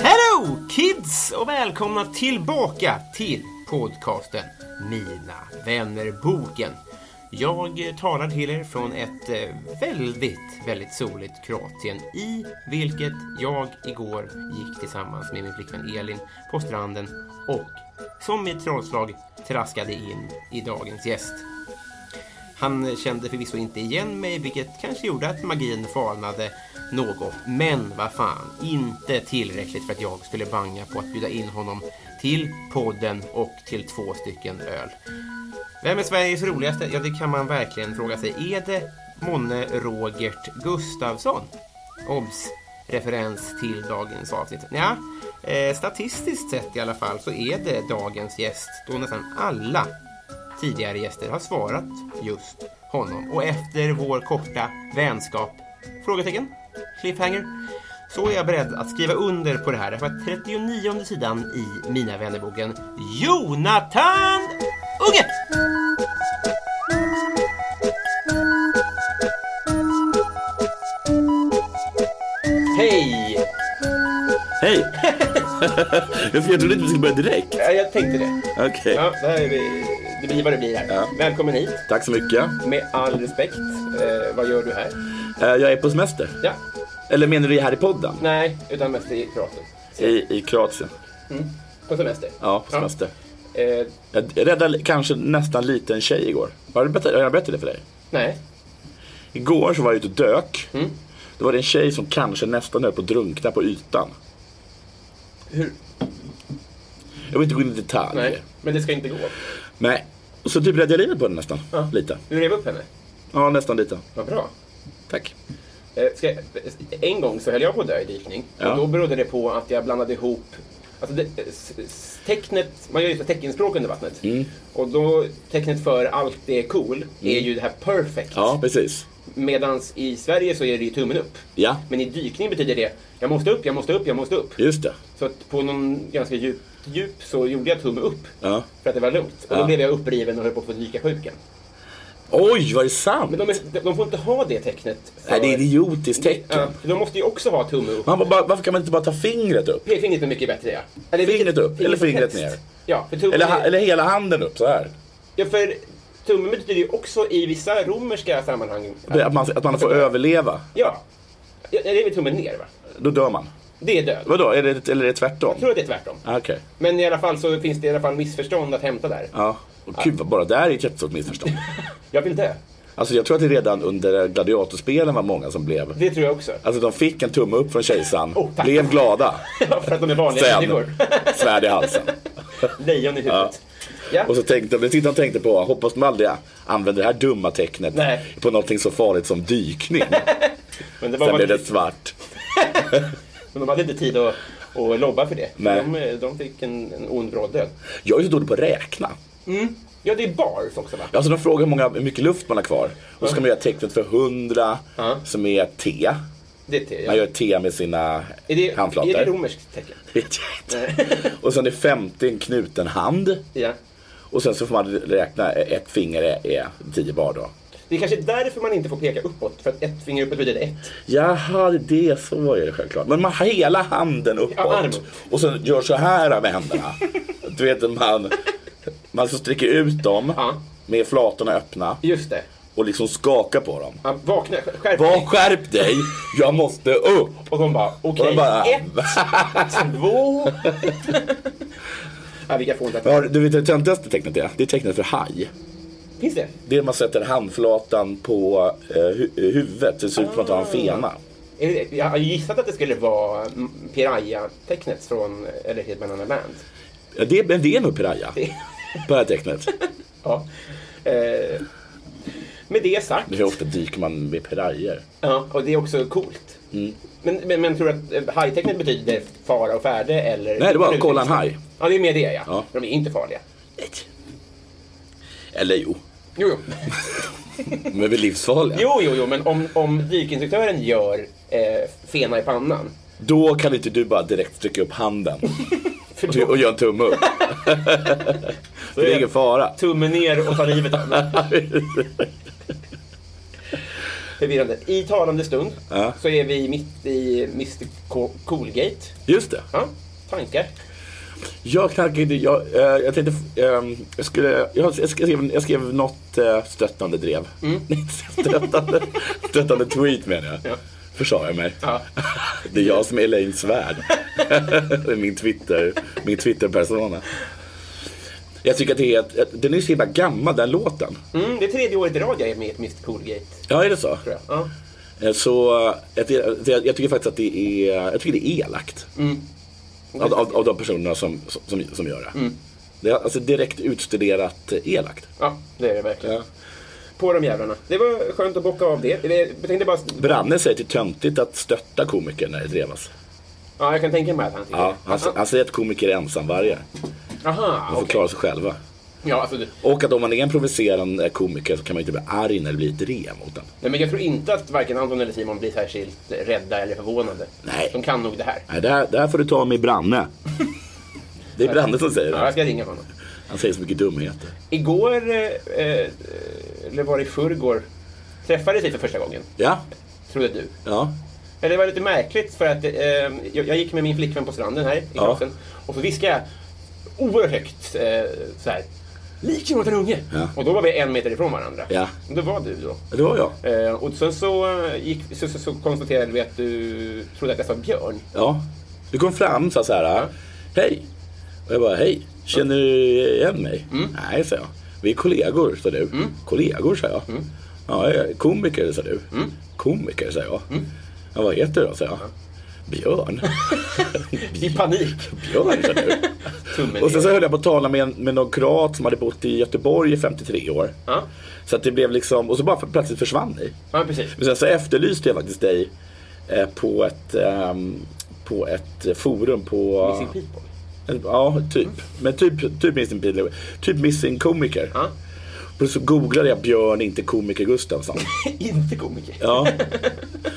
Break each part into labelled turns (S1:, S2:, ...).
S1: Hello kids och välkomna tillbaka till podcasten Mina vännerboken. Jag talar till er från ett eh, väldigt, väldigt soligt Kroatien i vilket jag igår gick tillsammans med min flickvän Elin på stranden och som i ett trollslag traskade in i dagens gäst. Han kände förvisso inte igen mig, vilket kanske gjorde att magin falnade något. Men vad fan, inte tillräckligt för att jag skulle banga på att bjuda in honom till podden och till två stycken öl. Vem är Sveriges roligaste? Ja, det kan man verkligen fråga sig. Är det månne Rogert Gustafsson? Obs! Referens till dagens avsnitt. Ja, eh, statistiskt sett i alla fall så är det dagens gäst då nästan alla tidigare gäster har svarat just honom. Och efter vår korta vänskap, frågetecken, cliffhanger, så är jag beredd att skriva under på det här. Därför att 39 sidan i Mina vännerboken, Jonathan Unge! Hej!
S2: Hej! jag trodde inte vi skulle börja direkt.
S1: Ja, jag tänkte det.
S2: Okej.
S1: Ja, det, här är vi, det blir vad det blir här.
S2: Ja.
S1: Välkommen hit.
S2: Tack så mycket.
S1: Med all respekt, eh, vad gör du här?
S2: Eh, Jag är på semester.
S1: Ja,
S2: Eller menar du här i podden?
S1: nej, utan mest i Kroatien.
S2: I, I Kroatien.
S1: På semester.
S2: Ja, på semester.
S1: Eh,
S2: Jag räddade kanske nästan liten tjej igår. Har jag berättat, har jag berättat det för dig?
S1: nej.
S2: Igår så var jag ute och dök.
S1: Mm.
S2: Då var det en tjej som kanske nästan höll på att drunkna på ytan.
S1: Hur?
S2: Jag vill inte gå in i detalj.
S1: Nej, men det ska inte gå.
S2: Nej. Och så typ räddade jag livet på henne nästan.
S1: Ja.
S2: Lite.
S1: Du rev upp henne?
S2: Ja, nästan lite.
S1: Vad bra.
S2: Tack.
S1: Eh, Ska, jag- en gång så höll jag på att dö i dykning.
S2: Ja.
S1: Och då berodde det på att jag blandade ihop Alltså det, s- s- tecknet, man gör ju så teckenspråk under vattnet.
S2: Mm.
S1: Och då, tecknet för allt det är cool är ju det här perfect.
S2: Ja, precis.
S1: Medan i Sverige så är det ju tummen upp.
S2: Ja.
S1: Men i dykning betyder det, jag måste upp, jag måste upp, jag måste upp.
S2: Just det.
S1: Så att på någon ganska djup, djup så gjorde jag tumme upp.
S2: Ja.
S1: För att det var lugnt. Och då
S2: Ja.
S1: blev jag uppriven och höll på att få dyka sjuken.
S2: Oj, var det sant?
S1: Men de, är, de får inte ha det tecknet. för-
S2: Nej, det är ett idiotiskt tecken.
S1: Ja, för de måste ju också ha tumme upp.
S2: Man bara, varför kan man inte bara ta fingret upp?
S1: Pekfingret är mycket bättre ja. Eller
S2: Fingret
S1: vilket-
S2: upp, eller fingret
S1: som helst.
S2: ner.
S1: Ja, för tummen
S2: Eller, ha,
S1: är-
S2: eller hela handen upp så här.
S1: ja, för tummen betyder ju också i vissa romerska sammanhang.
S2: Att man, att man får överleva.
S1: Ja. Ja, det är väl tummen ner va?
S2: Då dör man.
S1: Det är död. Jag
S2: Vadå, är det, eller är det tvärtom?
S1: tror att det är tvärtom.
S2: Ah, Okej.
S1: Men i alla fall så finns det i alla fall missförstånd att hämta där.
S2: Ja. Och gud, vad- bara där är ett jättestort missförstånd.
S1: Jag vill dö.
S2: Alltså jag tror att det redan under gladiatorspelen var många som blev...
S1: Det tror jag också.
S2: Alltså de fick en tumme upp från kejsaren,
S1: Oh, tack.
S2: blev glada.
S1: Ja, för att de är vanliga
S2: Sen,
S1: människor.
S2: svärd i halsen.
S1: Lejon i huvudet. Ja.
S2: Och så tänkte de, de tänkte på, hoppas de aldrig använder det här dumma tecknet
S1: Nej.
S2: på någonting så farligt som dykning.
S1: men, det var
S2: Sen
S1: bara,
S2: blev det svart.
S1: men de hade inte tid att, att lobba för det.
S2: Nej.
S1: De, eh, de fick en, en ond bråd död.
S2: Jag är så dålig på att räkna.
S1: Ja, det är bars också va?
S2: Alltså de frågar hur, många, hur mycket luft man har kvar. Och så ska man göra tecknet för 100
S1: Ja.
S2: som är T.
S1: Det är te. Ja.
S2: Man gör T med sina
S1: Är det, är
S2: handflator.
S1: det romerskt tecken?
S2: Vet jag inte. Och sen är 50 en knuten hand.
S1: Ja.
S2: Och sen så får man räkna ett finger är, är 10 bar då.
S1: Det är kanske därför man inte får peka uppåt, för att ett finger uppåt betyder ett.
S2: Jaha, det är så är det självklart. Men man har hela handen uppåt.
S1: Ja, arm.
S2: och sen gör så här med händerna. du vet man, man så sträcker ut dem
S1: Ja.
S2: med flatorna öppna.
S1: Just det.
S2: och liksom skaka på dem.
S1: Ja, vakna, skärp
S2: Var skärp dig, jag måste upp!
S1: Och de bara, okej,
S2: Och de bara,
S1: ett, två... ja, vilka får inte
S2: Ja, du vet det töntigaste tecknet är? Det är tecknet för haj.
S1: Finns det?
S2: Det är när man sätter handflatan på eh, hu- huvudet, det ser ut som att man har en fena.
S1: Är det- Jag har gissat att det skulle vara mm, Piraya-tecknet från Electric Banana Band.
S2: Ja, det, men det är nog piraya. Piraya-tecknet.
S1: Ja. Eh, med det sagt.
S2: Hur ofta dyker man med pirayer?
S1: Ja, och det är också coolt.
S2: Mm.
S1: Men, men, men tror du att eh, hajtecknet betyder fara och färde eller?
S2: Nej, det var kolla en haj.
S1: Ja, det är mer det ja.
S2: Ja.
S1: De är inte farliga.
S2: Eller jo,
S1: Jo, jo,
S2: de är väl livsfarliga.
S1: jo, jo, jo men om, om dykinstruktören gör eh, fena i pannan.
S2: Då kan inte du bara direkt sträcka upp handen
S1: För
S2: och- och göra en tumme upp. det är ingen fara.
S1: Tummen ner och ta livet av mig. Förvirrande. I talande stund
S2: Ja.
S1: så är vi mitt i Mr Co- Coolgate.
S2: Just det.
S1: Ja, tankar.
S2: Jag knarkade inte, jag, eh, jag tänkte, ehm, jag skulle, jag, jag skrev, jag skrev något eh, stöttande drev. Nej, stöttande, stöttande tweet menar jag.
S1: Mm. Ja.
S2: Försade jag mig.
S1: Ja.
S2: Det är jag som är Elaine Svärd. Det är min Twitter, min Twitter-persona. Jag tycker att det är, ett- ett- den är så himla gammal den låten.
S1: Mm, det är tredje året i rad jag är med i ett Mr Coolgate.
S2: Ja, är det så?
S1: Tror jag. Ja.
S2: Eh, Så eh, jag, jag, jag tycker faktiskt att det är, jag tycker det är elakt.
S1: Mm.
S2: Av, av, av de personerna som, som, som gör
S1: Mm.
S2: det. Det är alltså direkt utstuderat eh, elakt.
S1: ja, det är det verkligen. På de jävlarna. Det var skönt att bocka av det. Det- Jag tänkte bara...
S2: Branne säger att det är töntigt att stötta komiker när det drevas.
S1: Ja, jag kan tänka mig att han tycker
S2: Ja,
S1: det.
S2: han, han säger att komiker är ensamvargar.
S1: Aha,
S2: De får klara sig själva.
S1: Ja, alltså, det-
S2: Och att om man är en provocerande eh, komiker så kan man inte bli arg när det blir ett drev mot den.
S1: nej, men jag tror inte att varken Anton eller Simon blir särskilt rädda eller förvånade.
S2: Nej.
S1: De kan nog det här.
S2: Nej, det här, det här får du ta med Branne. Det är Branne som säger
S1: Ja, jag
S2: det.
S1: ska ringa honom.
S2: Han säger så mycket dumheter.
S1: Igår, eh, eh, eller var det i förrgår, träffades vi för första gången.
S2: Ja,
S1: Trodde du.
S2: ja.
S1: Eller det var lite märkligt för att eh, jag, jag gick med min flickvän på stranden här i
S2: Ja.
S1: kroppen. Och så viskade jag oerhört högt eh, så här. Lik Jonathan Unge!
S2: Ja.
S1: Och då var vi en meter ifrån varandra.
S2: Ja.
S1: Och Det var du då.
S2: Det var jag.
S1: Eh, och sen så, eh, gick, så, så, så konstaterade vi att du trodde att jag sa Björn.
S2: Ja. Du kom fram och sa så här. Hej. Och jag bara, hej. Känner du igen mig? Nej, sa jag. Vi är kollegor, sa du. Kollegor, sa jag. Ja, jag är komiker, sa du. Komiker, sa jag. Ja, vad heter du då, sa jag. Björn.
S1: I panik.
S2: Björn, sa du.
S1: Tummen
S2: Och sen så
S1: ner.
S2: höll jag på att tala med, en- med någon kroat som hade bott i Göteborg i 53 år.
S1: Ja.
S2: Så att det blev liksom, och så bara plötsligt försvann ni.
S1: Ja, precis.
S2: Men sen så efterlyste jag faktiskt dig eh, på ett, ehm, på ett forum på...
S1: Missing people.
S2: Ja, typ. Men typ, typ Missing People. Typ Missing Komiker.
S1: Ja.
S2: Och så googlade jag Björn, inte komiker Gustafsson.
S1: Inte komiker.
S2: Ja.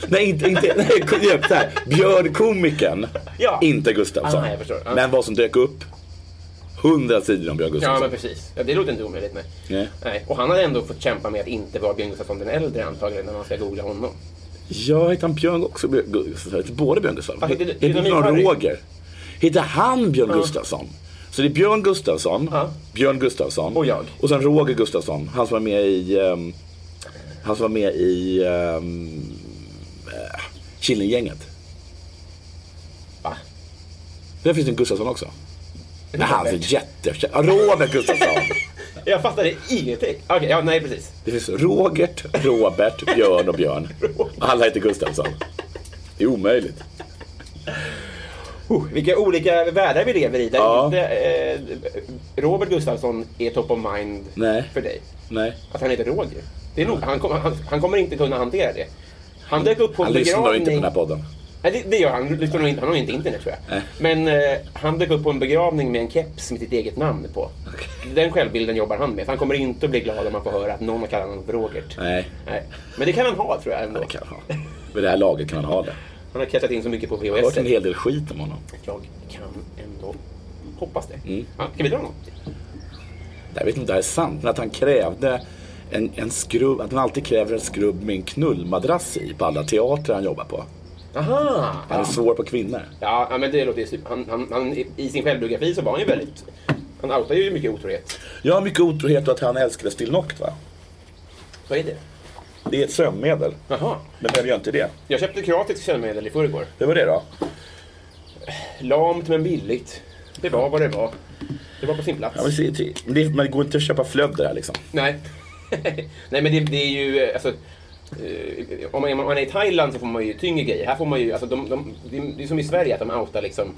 S2: nej, inte, inte nej, kom igen, så här. Björn komikern,
S1: Ja.
S2: inte Gustafsson.
S1: Ah, nej, jag förstår. Ja.
S2: Men vad som dök upp, hundra sidor om Björn
S1: Ja,
S2: Gustafsson.
S1: men precis. Ja, det låter inte omöjligt. Nej.
S2: Nej.
S1: Nej. Och han har ändå fått kämpa med att inte vara Björn Gustafsson den äldre antagligen när man ska googla honom.
S2: Jag heter han Björn också, Björn Gustafsson. Jag heter Både Björn Gustafsson.
S1: Fast det-
S2: Ah, Heter Ah.
S1: det-
S2: inte
S1: det-
S2: någon
S1: det-
S2: Roger? Heter han Björn Gustafsson? Så det är Björn Gustafsson,
S1: Ja.
S2: Björn Gustafsson
S1: Och jag.
S2: Ah. och sen Roger Gustafsson. Han som var med i, ehm, han som var med i um, Killinggänget.
S1: Va?
S2: Där finns det en Gustafsson också. Nej, han är jättekänd. Ja, Robert Gustafsson.
S1: Jag fattade ingenting. Okej, ja, nej precis.
S2: Det finns Robert, Robert, Björn och Björn. Alla heter Gustafsson. Det är omöjligt.
S1: Oh, vilka olika världar vi lever i. Där
S2: Ja.
S1: inte, eh, Robert Gustafsson är top of mind
S2: Nej.
S1: för dig.
S2: Nej.
S1: Att han heter Roger. Det är nog, han, kom, han, han kommer inte kunna hantera det. Han dök upp på en
S2: Han lyssnar nog
S1: begravning.
S2: inte på den här podden.
S1: Nej, det, det gör han. Lyssnar nog inte, han har inte internet tror jag.
S2: Nej.
S1: Men eh, han dök upp på en begravning med en keps med sitt eget namn på. Den självbilden jobbar han med. Han kommer inte att bli glad om han får höra att någon har kallat honom för Robert.
S2: Nej.
S1: Nej. Men det kan han ha tror jag ändå.
S2: Ja, det kan han ha. Vid det här laget kan han ha det.
S1: Han har kastat in så mycket på VHS.
S2: Jag har hört en hel del skit om honom.
S1: Jag kan ändå hoppas det.
S2: Mm.
S1: Ja, ska vi dra något?
S2: Jag vet inte om det här är sant, men att han krävde en, en skrubb, att han alltid kräver en skrubb med en knullmadrass i på alla teatrar han jobbar på.
S1: Aha!
S2: Han är svår på kvinnor.
S1: Ja, ja, men det låter ju super. Han, han, han, I sin självbiografi så var han ju väldigt... Han outar ju mycket otrohet.
S2: Jag har mycket otrohet och att han älskade Still Noct va?
S1: Vad är det?
S2: Det är ett sömnmedel.
S1: Jaha.
S2: Men vem gör inte det?
S1: Jag köpte kroatiskt sömnmedel i förrgår.
S2: Hur var det då?
S1: Lamt men billigt. Det var vad det var. Det var på sin plats.
S2: Ja, men, se- se- men det, men det går inte att köpa flödder här liksom.
S1: Nej. Nej, men det, det är ju... eh, Alltså, eh, om, man, om man är i Thailand så får man ju tyngre grejer. Här får man ju... Alltså, de, de, det är- det är som i Sverige att de outar liksom,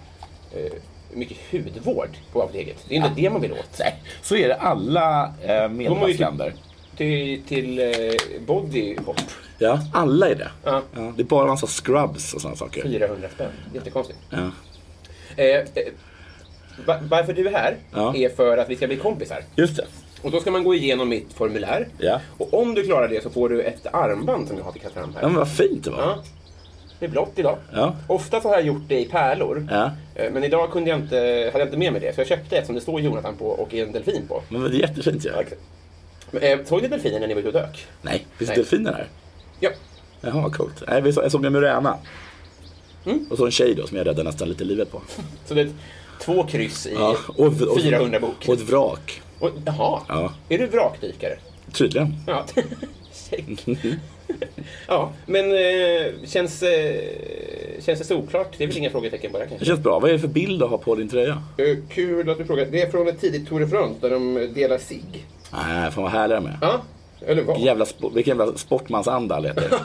S1: eh, mycket hudvård på apoteket. Det är inte det man vill åt.
S2: Nej, så är det alla eh, medelhavsländer.
S1: Till, till eh, body hop.
S2: Ja, alla är det.
S1: Ja.
S2: Ja, det är bara en massa scrubs och sådana saker.
S1: 400 spänn. Jättekonstigt.
S2: Ja.
S1: Eh, eh, va- varför du är här
S2: Ja.
S1: är för att vi ska bli kompisar.
S2: Just det.
S1: Och då ska man gå igenom mitt formulär.
S2: Ja.
S1: Och om du klarar det så får du ett armband som jag har till Katram här.
S2: Ja, men vad fint det var.
S1: Ja. Det är blått idag.
S2: Ja.
S1: Ofta så har jag gjort det i pärlor.
S2: Ja.
S1: Eh, Men idag kunde jag inte, hade jag inte med mig det, så jag köpte ett som det står Jonathan på och en delfin på.
S2: Men det är jättefint ju.
S1: Men, eh, Såg ni delfinen när ni var ute och dök?
S2: Nej, finns
S1: Nej.
S2: det delfiner här?
S1: Ja.
S2: Jaha, coolt. Nej, vi så, jag såg en muräna.
S1: Mm.
S2: Och så en tjej då som jag räddade nästan lite livet på.
S1: Så det är två kryss i
S2: Ja, och, och,
S1: 400 bok.
S2: Och ett vrak.
S1: Och, jaha,
S2: Ja.
S1: är du vrakdykare?
S2: Tydligen.
S1: Ja. Check. ja, men eh, känns, eh, känns det solklart? Det är väl inga frågetecken bara
S2: Det
S1: kanske?
S2: känns bra. Vad är det för bild att ha på din tröja?
S1: Eh, Kul att du frågar. Det är från ett tidigt Tour de France där de delar sig.
S2: Nej, fan vad härlig de är.
S1: Ja, eller vad?
S2: Jävla spo- vilken jävla sportmansanda alla heter.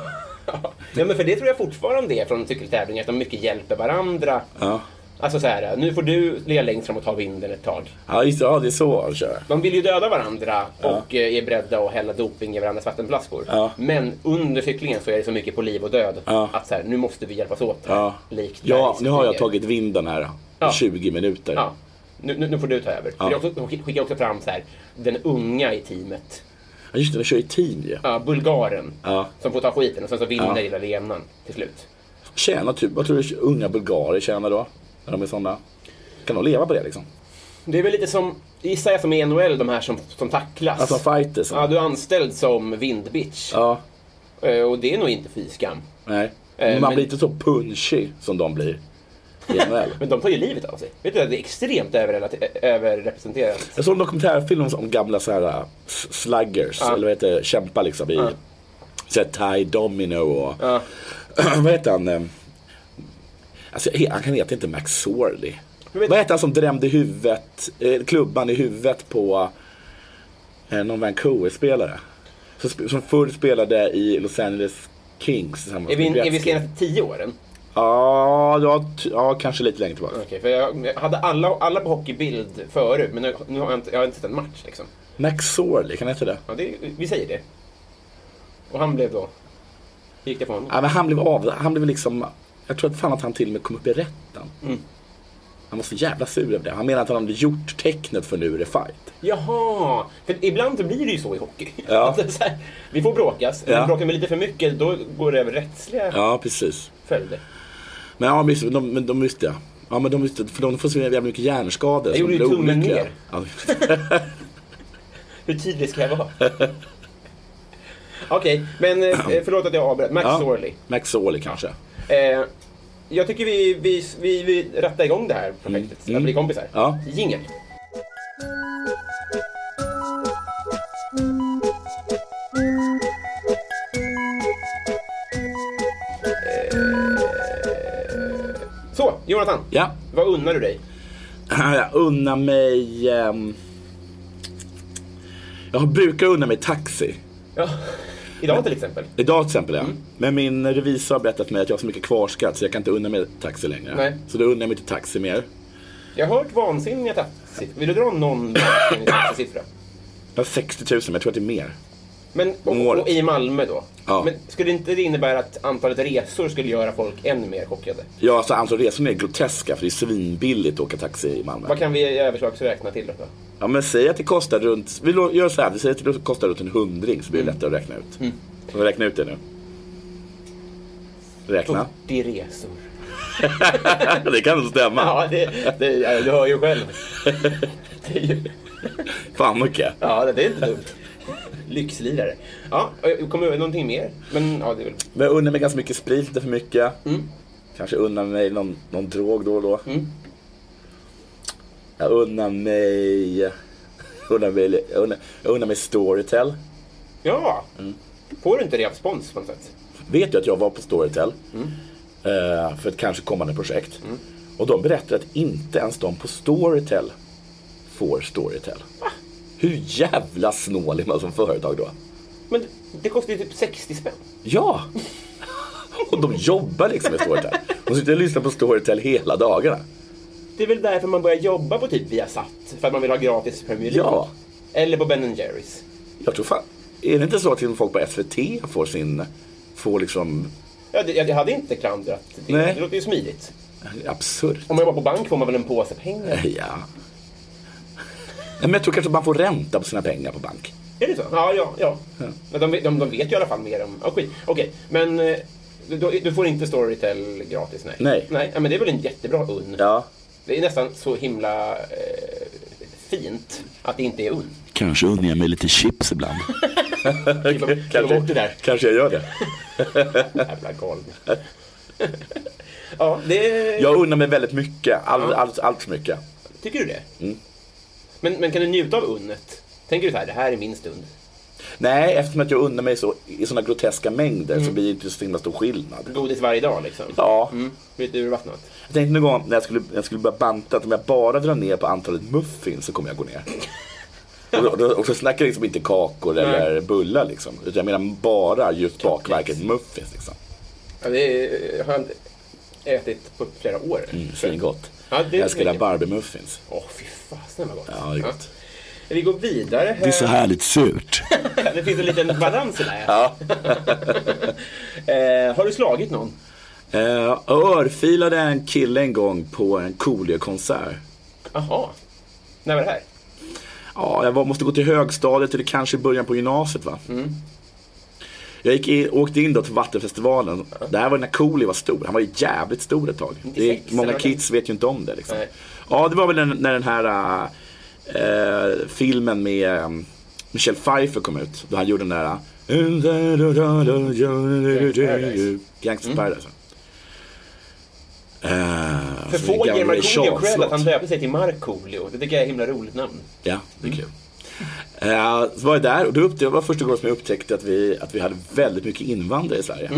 S1: Ja, men för det tror jag fortfarande är från cykeltävlingar, att de mycket hjälper varandra.
S2: Ja.
S1: Alltså så här, nu får du ligga längst fram och ta vinden ett tag.
S2: Ja, just det. Ja, det är så han kör.
S1: De vill ju döda varandra och eh, är beredda att hälla doping i varandras vattenflaskor.
S2: Ja.
S1: Men under cyklingen så är det så mycket på liv och död
S2: Ja.
S1: att så här, nu måste vi hjälpas åt.
S2: Ja.
S1: Likt
S2: ja, nu har jag
S1: bergskriger.
S2: tagit vinden här.
S1: Ja.
S2: i 20 minuter.
S1: Ja. Nu, nu, nu får du ta över. För jag också, de skickar också fram så här, den unga i teamet.
S2: Ja, just det. De kör i team ju.
S1: Ja, bulgaren
S2: Ja.
S1: som får ta skiten och sen så vinner
S2: Ja.
S1: lilla Lenan till slut.
S2: Tjänar typ, vad tror du unga bulgarer tjänar då? När de är sådana. Kan de leva på det liksom?
S1: Det är väl lite som, gissar jag, som i NHL, de här som, som tacklas.
S2: Alltså fighters.
S1: Ja, du är anställd som vindbitch.
S2: Ja,
S1: Eh, Och det är nog inte fy skam.
S2: nej.
S1: Eh,
S2: Men man
S1: men-
S2: blir inte så punchy som de blir i NHL.
S1: Men de tar ju livet av sig. Vet du, det är extremt överrelate- överrepresenterat.
S2: Jag såg en dokumentärfilm om- om gamla så här äh, s- sluggers, eller vad heter det, kämpar liksom i så här, Ty Domino och
S1: Ja.
S2: vad heter han? eh, Alltså, he- han kan heta inte Max Sorley.
S1: Jag vet-
S2: Vad heter han som drämde huvudet, eh, klubban i huvudet på eh, någon Vancouver-spelare? Som, sp- som förr spelade i Los Angeles Kings tillsammans
S1: Är vi,
S2: med
S1: är vi
S2: Gretzky.
S1: senaste tio åren?
S2: Ja, ja, t- ja, kanske lite längre tillbaka.
S1: Okej, för jag, jag hade alla, alla på hockeybild förut, men nu, nu har jag, inte, jag har inte sett en match. Liksom.
S2: Max Sorley, kan han heta det?
S1: Ja, det, vi säger det. Och han blev då... Hur gick det för honom?
S2: Ja, men han blev av, han blev liksom, jag tror att fan att han till och med kom upp i rätten.
S1: Mm.
S2: Han var så jävla sur över det. Han menade att han hade gjort tecknet för nu är det fight.
S1: Jaha! För ibland så blir det ju så i hockey.
S2: Ja.
S1: Att det är så här, vi får bråkas.
S2: Ja.
S1: Om vi bråkar med lite för mycket, då går det över rättsliga
S2: Ja, precis.
S1: följder.
S2: Men ja, men just- de, men de visste ja. Ja, men de visste, för de får så jävla mycket hjärnskador. som
S1: gjorde ju
S2: blir
S1: tummen
S2: olyckliga.
S1: ner.
S2: Ja,
S1: Hur tydlig ska jag vara? Okej, men eh, förlåt att jag avbröt. Max
S2: ja.
S1: Sorley.
S2: Max Sorley kanske.
S1: Eh, jag tycker vi, vi, vi, vi rattar igång det här projektet, att bli kompisar.
S2: Ja.
S1: Jingel. Eh, Så, Jonathan.
S2: Ja.
S1: Vad unnar du dig?
S2: Jag unnar mig... ehm, jag brukar unna mig taxi.
S1: Ja. Idag till exempel.
S2: Idag till exempel ja.
S1: Mm.
S2: Men min revisor har berättat för mig att jag har så mycket kvarskatt så jag kan inte unna mig taxi längre.
S1: Nej.
S2: Så då unnar jag mig inte taxi mer.
S1: Jag har hört vansinniga taxisiffror. Vill du dra någon vansinnig taxisiffra?
S2: Jag har 60 000 men jag tror att det är mer.
S1: Men,
S2: Om
S1: och,
S2: året.
S1: och i Malmö då?
S2: Ja.
S1: Men skulle inte det innebära att antalet resor skulle göra folk ännu mer chockade?
S2: Ja, alltså antalet resorna är groteska för det är svinbilligt att åka taxi i Malmö.
S1: Vad kan vi i överslagsräkna till då?
S2: Ja men säg att det kostar runt, vi lo- gör så här, vi säger att det kostar runt en hundring så blir det lättare att räkna ut. Mm. Så räkna ut det nu. Räkna.
S1: 40 resor.
S2: det kan nog stämma.
S1: Mm. Ja, det, det, ja, du hör ju själv. Det är ju,
S2: Fan mycket.
S1: ja, det är inte dumt. Lyxlirare. Ja, eh, kommer du någonting mer? Men, ja, det är väl...
S2: Men jag unnar mig ganska mycket sprit, inte för mycket. Kanske unnar mig någon, någon drog då och då. Jag unnar mig... Unnar mig, jag unnar, jag unnar mig Storytel.
S1: Ja.
S2: Mm.
S1: Får du inte respons på något sätt?
S2: vet ju att jag var på Storytel eh, för ett kanske kommande projekt. Och de berättade att inte ens de på Storytel får Storytel. Hur jävla snål är man som företag då?
S1: Men det- det kostar ju typ 60 spänn.
S2: Ja! Och de jobbar liksom med Storytel. De sitter och lyssnar på Storytel hela dagarna.
S1: Det är väl därför man börjar jobba på typ Viasat. För att man vill ha gratis Premier League.
S2: Ja.
S1: Eller på Ben Jerrys.
S2: Jag tror fan, är det inte så att till och med folk på SVT får sin, får liksom,
S1: Ja, det, jag hade inte klandrat det.
S2: Nej.
S1: Det låter ju smidigt.
S2: absurt.
S1: Om man jobbar på bank får man väl en påse pengar?
S2: Ja. Nej, Men jag tror kanske man får ränta på sina pengar på bank.
S1: Är det så? Ja, ja, ja. Men De, de, de vet ju i alla fall mer om... Oh, skit. Okej, men eh, du, du- du får inte Storytel gratis? Nej.
S2: Nej.
S1: nej. ja, Men det är väl en jättebra unn?
S2: Ja.
S1: Det är nästan så himla eh, fint att det inte är unn.
S2: Kanske unnar jag mig lite chips ibland.
S1: Kliva kliva bort det där.
S2: kanske jag gör det.
S1: Jävla galning. ja, det...
S2: Jag unnar mig väldigt mycket. All, allt, allt för mycket.
S1: Tycker du det?
S2: Mm.
S1: Men, men kan du njuta av unnet? Tänker du så här, det här är min stund?
S2: Nej, eftersom att jag unnar mig så, i sådana groteska mängder så blir det inte så himla stor skillnad.
S1: Godis varje dag liksom?
S2: Ja,
S1: Mm. Lite urvattnat?
S2: jag tänkte någon gång när jag skulle, jag skulle börja banta att om jag bara drar ner på antalet muffins så kommer jag gå ner. Och, då- då, och så snackar jag liksom inte kakor eller bullar liksom. Utan jag menar bara just bakverket muffins liksom.
S1: Ja, det är, har jag inte ätit på flera år.
S2: Mm, Svingott.
S1: Ja, det är
S2: jag ska göra
S1: mycket.
S2: Barbie-muffins.
S1: Åh, fy fasen vad gott.
S2: Ja, det är gott.
S1: Ja. Vi går vidare. här.
S2: härligt surt.
S1: Det finns en liten balans i det här. eh, har du slagit någon?
S2: Eh, örfilade en kille en gång på en Coolio-konsert.
S1: Jaha. När var det här?
S2: Ja, jag var, måste gå till högstadiet eller kanske i början på gymnasiet va.
S1: Mm.
S2: Jag gick in, åkte in då till Vattenfestivalen. Det här var när Coolio var stor. Han var ju jävligt stor ett tag. Det är,
S1: 96
S2: många
S1: eller?
S2: kids vet ju inte om det liksom.
S1: Nej.
S2: Ja, det var väl när, när den här eh, eh, filmen med eh, Michelle Pfeiffer kom ut. Då han gjorde den där... eh,
S1: Paradise.
S2: Gangsters Paradise. Eh,
S1: För
S2: så det är
S1: få ger
S2: gamla
S1: Markoolio cred
S2: Charles-låt.
S1: att han döpte sig till Markoolio. Det tycker jag är ett himla roligt namn.
S2: Ja, det är kul. Eh, så var jag där och då upptäckte, det var första gången som jag upptäckte att vi, att vi hade väldigt mycket invandrare i Sverige.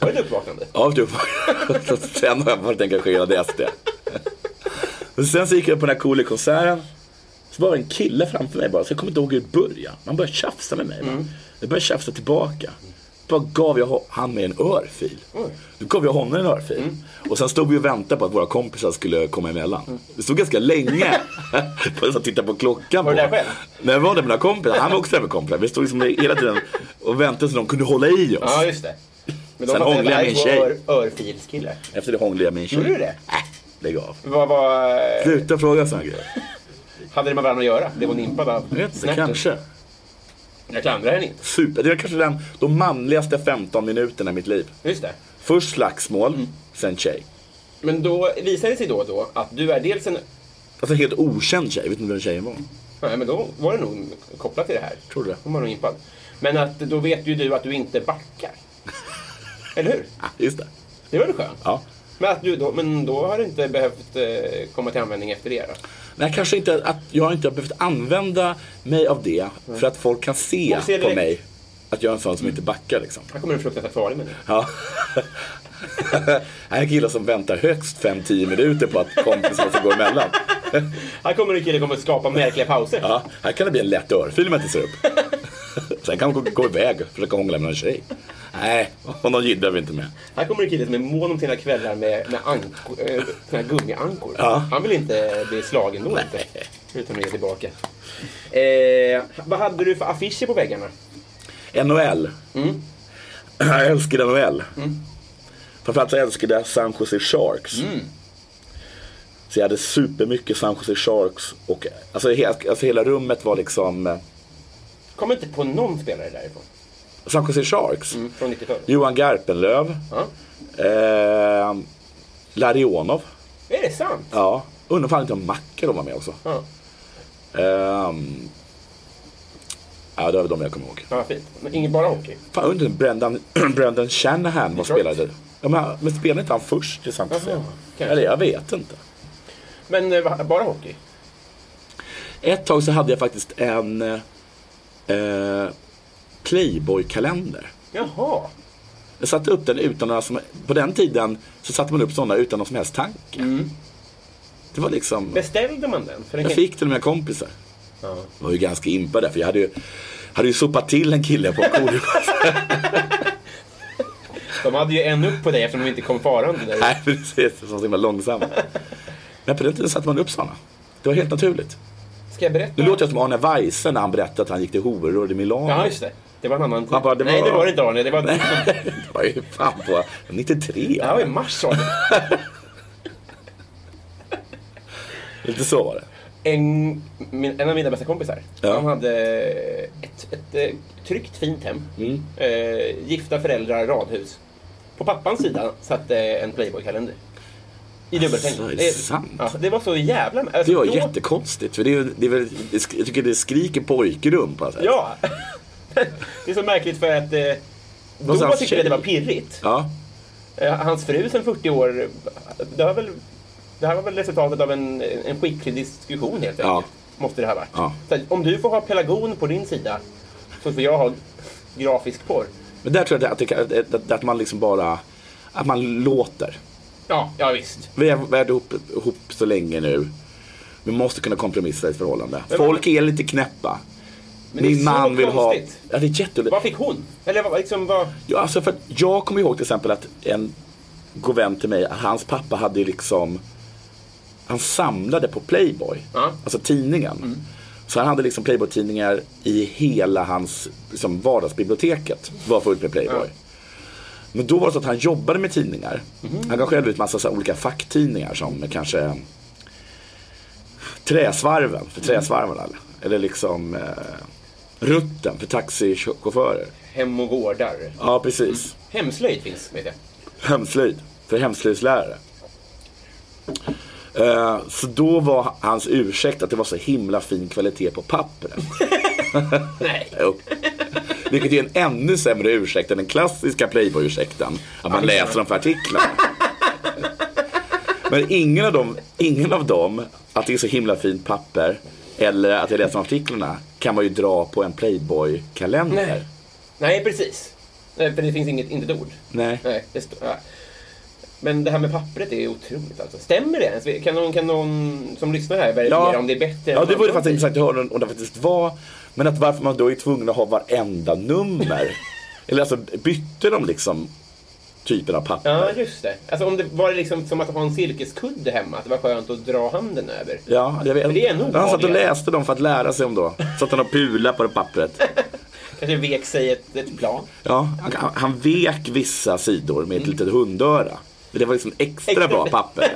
S1: Var det ett uppvaknande?
S2: Ja, du, så sen har jag varit engagerad i SD. Men sen så gick jag på den här Coolio-konserten. Så var det en kille framför mig bara, så jag kommer inte ihåg hur det började. Man började tjafsa med mig. Mm. Jag började tjafsa tillbaka. Då gav jag ho- han mig en örfil. Då gav jag honom en örfil.
S1: Mm.
S2: Och sen stod vi och väntade på att våra kompisar skulle komma emellan.
S1: Mm.
S2: Vi stod ganska länge på att titta på klockan.
S1: Var du
S2: på.
S1: där själv?
S2: Nej, jag var där med mina kompisar. Han var också där med kompisar. Vi stod liksom hela tiden och väntade så de kunde hålla i oss.
S1: Ja, just det. Men
S2: Sen
S1: fattade
S2: hånglade jag
S1: att
S2: med en
S1: det här
S2: tjej.
S1: var ör- Örfilskille.
S2: Efter det hånglade jag med en tjej.
S1: Gjorde du det?
S2: Äh, lägg av.
S1: Vad var...
S2: Sluta fråga sådana grejer.
S1: Hade det med varandra att göra? Det var impad av
S2: Jag vet inte,
S1: snärten.
S2: kanske.
S1: Jag klandrar henne inte.
S2: Super. Det var kanske den, de manligaste 15 minuterna i mitt liv.
S1: Just det.
S2: Först slagsmål,
S1: Mm.
S2: sen tjej.
S1: Men då visar det sig då och då att du är dels en...
S2: Alltså helt okänd tjej, vet inte vem tjejen
S1: Mm.
S2: var.
S1: Nej, men då var det nog kopplat till det här.
S2: Tror du det?
S1: Hon var nog impad. Men att då vet ju du att du inte backar. Eller hur?
S2: Ah, just det.
S1: Det var väl skönt?
S2: Ja.
S1: Men, att du då, men då har du inte behövt eh, komma till användning efter det då?
S2: Nej, kanske inte att jag inte har behövt använda mig av det för att folk kan se
S1: Mm. Folk ser
S2: på
S1: direkt.
S2: mig att jag är en sån som inte backar liksom.
S1: Här kommer en fruktansvärt farlig människa.
S2: Ja. Här är killar som väntar högst 5-10 minuter på att kompisar ska gå emellan.
S1: Här kommer en kille som kommer att skapa märkliga pauser.
S2: Ja, här kan det bli en lätt örfil om jag inte ser upp. Sen kan man gå, gå iväg och försöka hångla med någon tjej. Nej, och någon jidder vi inte med.
S1: Här kommer en kille som är mån om sina kvällar med, med anko, eh, såna här gummiankor.
S2: Ja.
S1: Han vill inte bli slagen då inte. Utan att ge tillbaka. Eh, vad hade du för affischer på väggarna?
S2: NHL. Jag älskade NHL. Framförallt så älskade jag San Jose Sharks. Så jag hade supermycket San Jose Sharks. Och, alltså, he, alltså hela rummet var liksom eh,
S1: Kommer inte på någon spelare därifrån.
S2: San Jose Sharks.
S1: Från 90-talet.
S2: Johan Garpenlöv.
S1: Mm. Ja.
S2: Eh, Larionov.
S1: Är det sant?
S2: Ja. Undrar fan inte om Makarov var med också.
S1: Ja.
S2: Ehm, ja, det var de jag kommer ihåg.
S1: Ja, vad fint. Men ingen bara hockey.
S2: Fan, undrar om Brendan, Brendan Shanahan var
S1: Detroit.
S2: spelade. Ja, men, han- men spelade inte han först i San Jose?
S1: Jaha, kanske.
S2: Eller jag vet inte.
S1: Men eh, va- bara hockey?
S2: Ett tag så hade jag faktiskt en eh, Playboy-kalender.
S1: Jaha.
S2: Jag satte upp den utan några som, På den tiden så satte man upp sådana utan någon som helst tanke.
S1: Mm.
S2: Det var liksom...
S1: Beställde man den? För den
S2: Jag
S1: kan-
S2: fick den av mina kompisar. Jag var ju ganska impad där, för jag hade ju, hade ju sopat till en kille på en
S1: De hade ju en upp på dig eftersom de inte kom farande. Där.
S2: Nej, precis. Som var så himla långsamma. Men på den tiden satte man upp sådana. Det var helt naturligt.
S1: Ska jag berätta?
S2: Nu låter jag som Arne Weise när han berättade att han gick till horor i Milano.
S1: Ja, just det. Det var en annan
S2: Han bara, det
S1: Nej,
S2: var-
S1: det var det inte Arne. Det var... det
S2: det var ju fan på 93.
S1: här var i mars sa du.
S2: Lite så var det.
S1: en, min, en av mina bästa kompisar.
S2: Ja.
S1: Han hade ett, ett, eh, tryggt, fint hem.
S2: Mm.
S1: Eh, gifta föräldrar, radhus. På pappans sida satt eh, en Playboy-kalender. I dubbelsäng.
S2: Alltså, är det
S1: Eh,
S2: sant?
S1: Ja, det var så jävla... Alltså,
S2: Det var
S1: då-
S2: jättekonstigt. För det är, ju- det är väl, det sk- jag tycker det skriker pojkrum på något sätt.
S1: Ja! det är så märkligt för att eh, då
S2: Någonstans
S1: tyckte vi att det
S2: tjej-
S1: var pirrigt.
S2: Ja.
S1: Eh, hans fru sen 40 år, det, har väl, det här var väl resultatet av en, en skicklig diskussion helt enkelt.
S2: Ja.
S1: Måste det ha varit.
S2: Ja.
S1: Så att om du får ha pelargon på din sida så får jag ha grafisk porr.
S2: Men där tror jag att, det, kan- att, att, att man liksom bara... Att man låter.
S1: Ja, ja visst.
S2: Vi har varit ihop, ihop så länge nu. Vi måste kunna kompromissa i ett förhållande.
S1: Men-
S2: Folk är lite knäppa.
S1: det är
S2: Min
S1: så
S2: man vill ha...
S1: konstigt.
S2: Ja, det är jätteolyckligt.
S1: Vad fick hon? Eller vad, liksom vad...
S2: Ja, alltså för att jag kommer ihåg till exempel att en god vän till mig, hans pappa hade ju liksom Han samlade på Playboy,
S1: Ja.
S2: alltså tidningen. Så han hade liksom Playboy-tidningar i hela hans liksom, vardagsbiblioteket. var fullt med Playboy. Men då var det så att han jobbade med tidningar. Han gav själv ut massa så här olika facktidningar som kanske Träsvarven för träsvarvarna. Eller liksom eh, Rutten för taxichaufförer.
S1: Hem och gårdar.
S2: Ja, precis.
S1: Hemslöjd finns, vet jag.
S2: hemslöjd för hemslöjdslärare. Eh, Så då var hans ursäkt att det var så himla fin kvalitet på pappret.
S1: Nej.
S2: Jo. Vilket är en ännu sämre ursäkt än den klassiska Playboy-ursäkten. Att man läser dem för artiklarna. Men ingen av, dem, ingen av dem, att det är så himla fint papper eller att jag läser de artiklarna, kan man ju dra på en Playboy-kalender.
S1: Nej. Nej, precis. Nej, för det finns inget, inte ett ord.
S2: Nej.
S1: Nej, det står... Ja. Men det här med pappret är otroligt alltså. Stämmer det ens? Kan någon, kan någon som lyssnar här verifiera om det är bättre?
S2: Ja,
S1: än
S2: det vore
S1: någon
S2: faktiskt
S1: annan?
S2: intressant att höra om det faktiskt var. Men att varför man då är tvungen att ha varenda nummer. Eller alltså bytte de liksom typen av papper?
S1: Ja, just det. Alltså, om det var det liksom som att ha en silkeskudde hemma, att det var skönt att dra handen över.
S2: Ja, jag vet.
S1: Men det är nog
S2: Han satt och
S1: vanligare.
S2: läste dem för att lära sig om då. Satt han och pula på det pappret.
S1: Kanske vek sig ett, ett plan.
S2: Ja, han, han- han vek vissa sidor med ett
S1: Mm.
S2: litet hundöra. Men Det var liksom extra bra papper.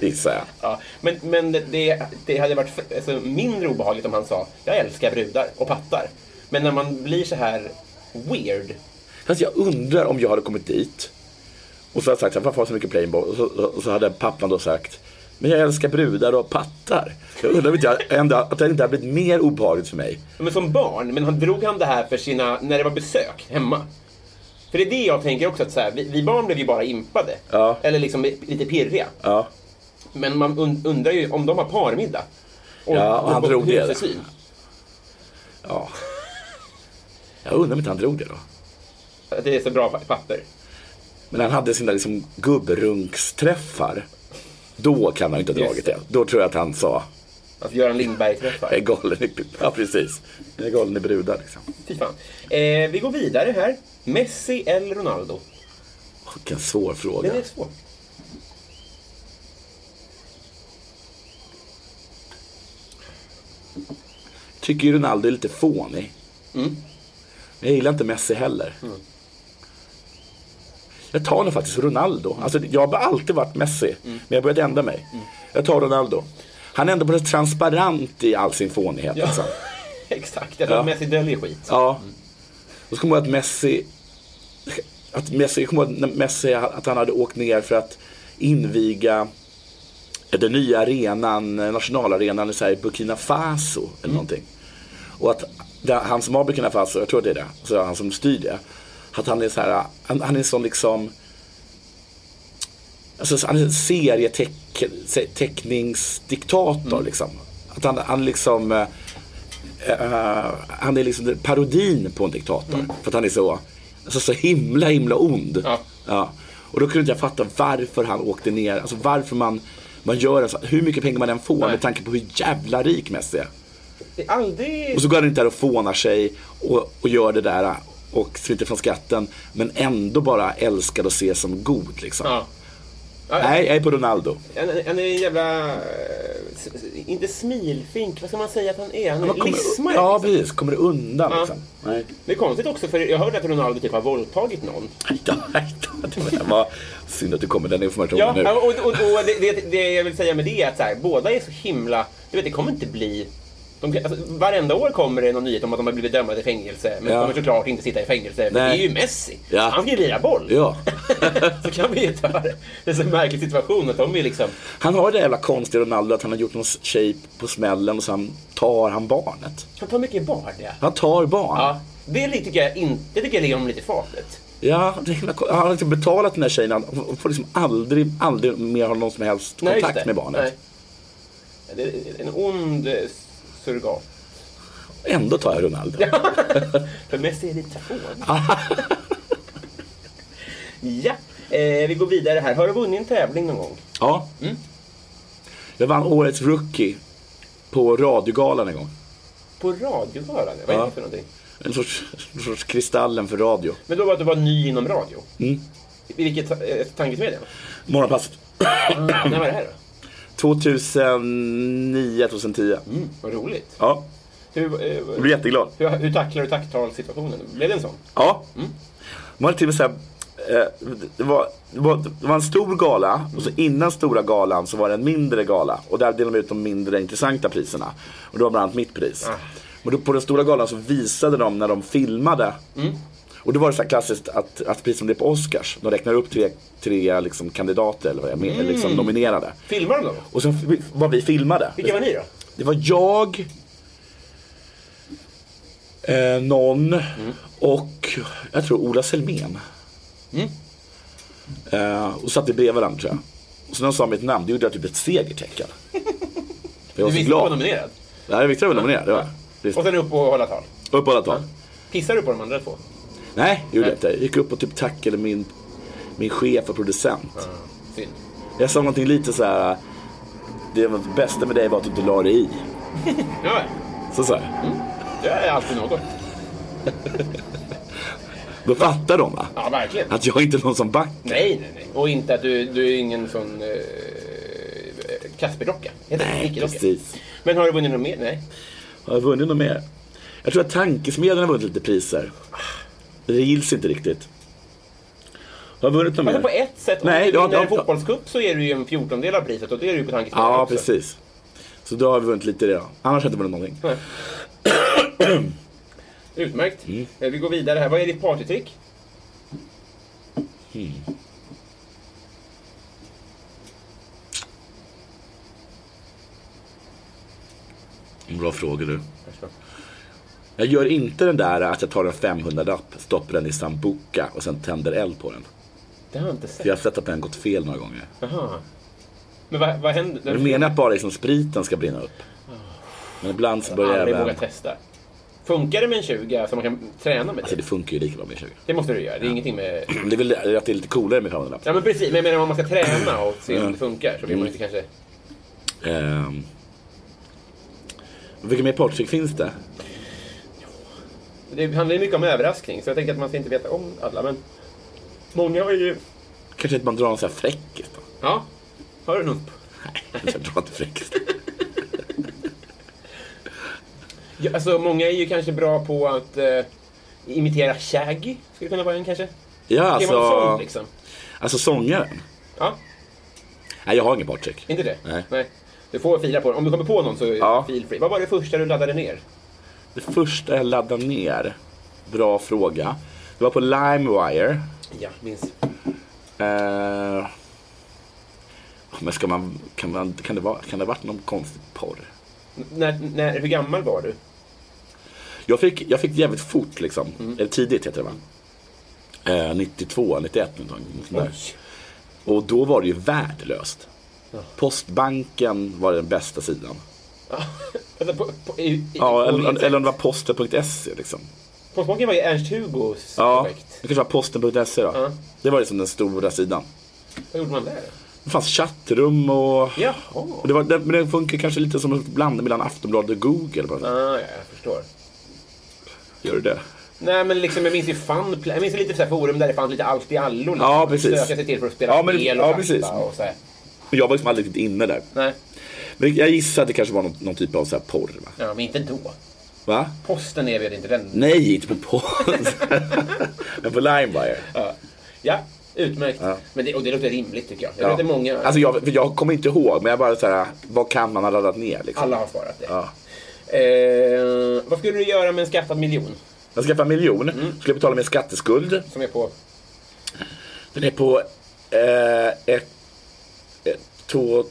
S2: Gissar jag.
S1: Ja. Men, men det- det, det hade varit f- alltså, mindre obehagligt om han sa jag älskar brudar och pattar. Men när man blir så här weird.
S2: Fast jag undrar om jag hade kommit dit och så hade jag sagt så här, varför har jag så mycket Playboy? Och så, och så hade pappan då sagt, men jag älskar brudar och pattar. Jag undrar om inte jag, ändå, att det inte hade blivit mer obehagligt för mig.
S1: Men som barn, men han drog han det här för sina, när det var besök hemma? För det är det jag tänker också, att så här, vi, vi barn blev ju bara impade.
S2: Ja.
S1: Eller liksom lite pirriga.
S2: Ja,
S1: Men man und- undrar ju om de har parmiddag. Och,
S2: Ja, och han drog det.
S1: husesyn.
S2: ja. Jag undrar om inte han drog det då.
S1: Att det är så bra pa- papper.
S2: Men han hade sina liksom gubbrunksträffar. Då kan han inte ha
S1: Just
S2: dragit
S1: det.
S2: det. Då tror jag att han sa,
S1: Att Göran Lindberg träffar.
S2: jag är galen i, ja, precis. Jag är galen i brudar liksom.
S1: Fy fan. Eh, vi går vidare här. Messi eller Ronaldo?
S2: Vilken svår fråga.
S1: Den är svår.
S2: tycker ju Ronaldo är lite fånig. Men jag gillar inte Messi heller. Jag tar nog faktiskt Ronaldo. Alltså, jag har alltid varit Messi, men jag har börjat ändra mig. Jag tar Ronaldo. Han är ändå på något transparent i all sin fånighet. Ja. Alltså.
S1: Exakt, jag tror
S2: Ja.
S1: att Messi döljer skit.
S2: Ja. Och så kommer jag ihåg att Messi, att Messi, jag kommer ihåg när Messi, att han hade åkt ner för att inviga den nya arenan, eh, nationalarenan i så här, Burkina Faso eller någonting. Och att det, han som har Burkina Faso, jag tror det är det, så han som styr det, att han är så här, han, han är en sån liksom Alltså, så han är en serieteckningsdiktator.
S1: Mm.
S2: Liksom. Att han, han liksom... eh, eh, han är liksom parodin på en diktator. För att han är så, alltså, så himla, himla ond.
S1: Mm. Ja.
S2: Och då kunde inte jag fatta varför han åkte ner. Alltså varför man, man gör en så, Hur mycket pengar man än får
S1: Nej.
S2: med tanke på hur jävla rik Messi är.
S1: Det är aldrig...
S2: Och så går han runt där och fånar sig och, och gör det där och smiter från skatten. Men ändå bara älskad och ses som god liksom.
S1: Ja. Ja,
S2: Nej, jag är på Ronaldo.
S1: Han, han är en jävla... eh, s- s- Inte smilfink, vad ska man säga att han är? Han är
S2: Man kommer-
S1: lismare.
S2: Ja,
S1: liksom.
S2: precis. Kommer det undan
S1: Ja.
S2: liksom? Nej.
S1: Det är konstigt också, för jag hörde att Ronaldo typ har våldtagit någon.
S2: Ja, nej, det var synd att du kom med den informationen
S1: Ja,
S2: nu.
S1: och, och, och det, det, det jag vill säga med det är att så här, båda är så himla... Du vet, det kommer inte bli... De, alltså, varenda år kommer det någon nyhet om att de har blivit dömda till fängelse, men
S2: Ja.
S1: kommer såklart inte sitta i fängelse. Men det är
S2: Nej.
S1: ju Messi!
S2: Ja.
S1: Han ska ju lira boll!
S2: Ja.
S1: så kan vi ju ta det. Det är så en märklig situation att de är liksom...
S2: Han har det jävla konstiga Ronaldo att han har gjort någon tjej på smällen och sen tar han barnet.
S1: Han tar mycket barn, ja.
S2: Han tar barn.
S1: ja. Det tycker jag inte... Det tycker jag ligger honom lite i fatet.
S2: Ja, det är himla ko- han har liksom betalat den här tjejen och får liksom aldrig, aldrig mer ha någon som helst
S1: Nej, just
S2: kontakt
S1: det.
S2: med barnet.
S1: Nej. Det är en ond eh, surrogat.
S2: Ändå tar jag Ronaldo.
S1: För Messi är lite tvåan. ja, eh, vi går vidare här. Har du vunnit en tävling någon gång?
S2: Ja. Jag vann årets rookie på radiogalan en gång.
S1: På radiogalan? Vad är
S2: Ja.
S1: det för någonting?
S2: En sorts, en sorts Kristallen för radio.
S1: Men då var det att du var ny inom radio?
S2: Mm.
S1: I vilket eh, tankesmedja?
S2: Morgonpasset.
S1: När var det här då?
S2: 2009, 2010.
S1: Mm, vad roligt.
S2: Ja,
S1: Hur, eh,
S2: jag blev jätteglad.
S1: hur, hur tacklar du tacktalssituationen? Blev det en sån?
S2: Ja. Mm. De hade till och med så här, eh, det, var, det, var, det var en stor gala och så innan stora galan så var det en mindre gala. Och där delade de ut de mindre intressanta priserna. Och det var bland annat mitt pris. Men då, på den stora galan så visade de när de filmade. Och då var det så här klassiskt att, att precis som det är på Oscars, de räknar upp tre, tre liksom kandidater eller vad jag menar, liksom nominerade.
S1: Filmade de då?
S2: Och sen f- var vi filmade.
S1: Vilka var ni då?
S2: Det var jag, eh, någon och jag tror Ola Selmén.
S1: Mm.
S2: Eh, och satt vi bredvid varandra tror jag. Och så när de sa mitt namn, det gjorde jag typ ett segertecken. För jag
S1: Du
S2: var så
S1: visste att du var
S2: glad.
S1: nominerad?
S2: Det här är viktigt att vara nominerad, det var jag. Visst.
S1: Och sen upp och hålla tal?
S2: Upp och alla tal.
S1: Pissar du på de andra två?
S2: Nej, det gjorde jag inte. Jag gick upp och typ tackade min, min chef och producent.
S1: Ah, Synd.
S2: Jag sa någonting lite så här. Det var- det bästa med dig var att du inte la dig i.
S1: Ja,
S2: Så sa jag.
S1: det är alltid något.
S2: Då fattar de va?
S1: Ja, verkligen.
S2: Att jag inte är någon som back.
S1: Nej, nej, nej. Och inte att du, du är ingen sån eh, Kasper-docka. Heter det?
S2: Nej,
S1: Icke-docka.
S2: precis.
S1: Men har du vunnit något mer? Nej.
S2: Har jag vunnit något mer? Jag tror att Tankesmedjan har vunnit lite priser. Det gills inte riktigt. Har jag vunnit något
S1: Alltså
S2: mer?
S1: på ett sätt,
S2: Nej,
S1: om
S2: det
S1: du
S2: har-
S1: vinner en
S2: det har-
S1: fotbollscup så är du ju en fjortondel av priset och det är du ju på tankesmedjan
S2: Ja,
S1: också.
S2: precis. Så då har vi vunnit lite i det då. Annars har jag inte vunnit någonting.
S1: Nej. Utmärkt.
S2: Mm.
S1: Eh, Vi går vidare här. Vad är ditt partytrick?
S2: Hmm. Bra frågor du. Jag gör inte den där att jag tar en 500-lapp, stoppar den i sambuca och sen tänder eld på den.
S1: Det har jag inte
S2: För jag
S1: sett.
S2: har sett att den gått fel några gånger.
S1: Jaha. Men vad, vad händer?
S2: Men du menar att bara liksom spriten ska brinna upp? Men ibland så
S1: jag
S2: börjar
S1: aldrig
S2: även...
S1: vågat testa. Funkar det med en 20 som man kan träna med?
S2: Alltså det
S1: Det,
S2: funkar ju lika bra med 20.
S1: det måste du göra. Det är ingenting med
S2: Det är väl att det är lite coolare med 500-lapp.
S1: Ja men precis, men jag menar om man ska träna och se
S2: Mm.
S1: om det funkar så vill man ju inte kanske...
S2: Ehm. Vilka mer partytrick finns det?
S1: Det handlar ju mycket om överraskning så jag tänker att man ska inte veta om alla men... Många har ju...
S2: Kanske att man drar en sån här fräckis då?
S1: Ja, har du något?
S2: Jag drar inte fräckis.
S1: Ja, alltså många är ju kanske bra på att eh, imitera Shaggy, skulle kunna vara en kanske?
S2: Ja,
S1: Är man sån
S2: alltså,
S1: liksom?
S2: alltså sångaren.
S1: Ja,
S2: Nej, jag har ingen partytrick.
S1: inte det?
S2: Nej.
S1: Du får fila på den. Om du kommer på någon så är
S2: Ja.
S1: feel free. Vad var det första du laddade ner?
S2: Det första jag laddade ner, bra fråga. Det var på LimeWire.
S1: Ja, minns.
S2: Eh, men ska man, kan, man, kan, det vara, kan det ha varit någon konstig porr?
S1: N- När, när, hur gammal var du?
S2: Jag fick, jag fick jävligt fort liksom. Eller tidigt heter det va? Eh, 92, 91 någonting. sånt där. Och då var det ju värdelöst. Postbanken var den bästa sidan.
S1: Alltså, på, på, i, i,
S2: Ja,
S1: på
S2: eller,
S1: internet.
S2: eller om det var posten.se liksom.
S1: Postbanken var ju Ernst-Hugos
S2: Ja,
S1: projekt.
S2: det kanske var posten.se då. Det var liksom den stora sidan.
S1: Vad gjorde man där?
S2: Det fanns chattrum och...
S1: Jaha.
S2: och det var, det, men den funkar kanske lite som en blandning mellan Aftonbladet och Google. På något sätt.
S1: Ah, ja, jag förstår.
S2: Gör du det?
S1: Nej, men liksom, jag minns ju funpla- jag minns ju lite så här forum där det fanns lite allt i allo. Liksom.
S2: Ja, precis.
S1: Söka sig till för att spela
S2: Ja, men-
S1: spel och
S2: ja,
S1: fatta
S2: precis.
S1: och så här.
S2: Men jag var liksom aldrig riktigt inne där.
S1: Nej,
S2: Men jag gissar att det kanske var någon, någon typ av så här porr. Va?
S1: ja, men inte då.
S2: va?
S1: Posten erbjöd inte den.
S2: Nej, inte på porr. men på Limewire.
S1: Ja, utmärkt. Men det, och det låter rimligt tycker jag. Jag vet
S2: Ja.
S1: att många,
S2: Alltså jag, för jag kommer inte ihåg, men jag bara så här, vad kan man ha laddat ner liksom?
S1: alla har svarat det.
S2: Ja.
S1: Eh, vad skulle du göra med en skattad miljon?
S2: Jag skaffade en miljon,
S1: Mm.
S2: skulle betala min skatteskuld.
S1: Som är på...
S2: Den är på eh, ett, ett, två,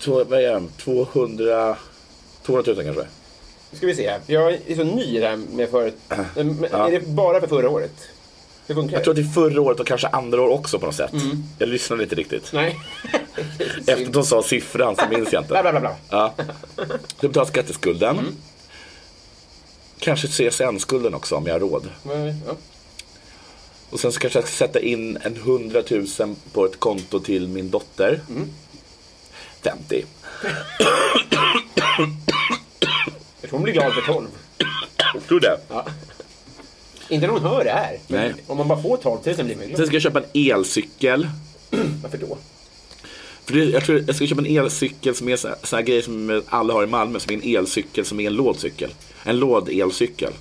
S2: två, vad är den? 200, 200 000 kanske.
S1: Nu ska vi se här. Jag är så ny där med förut. Men Är det bara för förra året? Hur funkar
S2: Jag tror att det är förra året och kanske andra år också på något sätt.
S1: Mm.
S2: Jag lyssnade inte riktigt.
S1: Nej.
S2: Efter att de sa siffran så minns jag inte.
S1: Bla, bla, bla, bla.
S2: Ja. Du betalar skatteskulden.
S1: Mm.
S2: Kanske CSN-skulden också om jag har råd.
S1: Men, ja.
S2: Och sen så kanske jag ska sätta in en 100 000 på ett konto till min dotter. 50.
S1: Jag tror hon blir glad för 12.
S2: Jag tror det.
S1: Inte när hon hör det här. Men
S2: Nej.
S1: Om man bara får 12 000 blir man ju glad.
S2: Sen ska jag köpa en elcykel.
S1: Varför då?
S2: För det, jag, tror, jag ska köpa en elcykel som är så- sån här grej som alla har i Malmö. Som är en elcykel som är en lådcykel. En lådelcykel.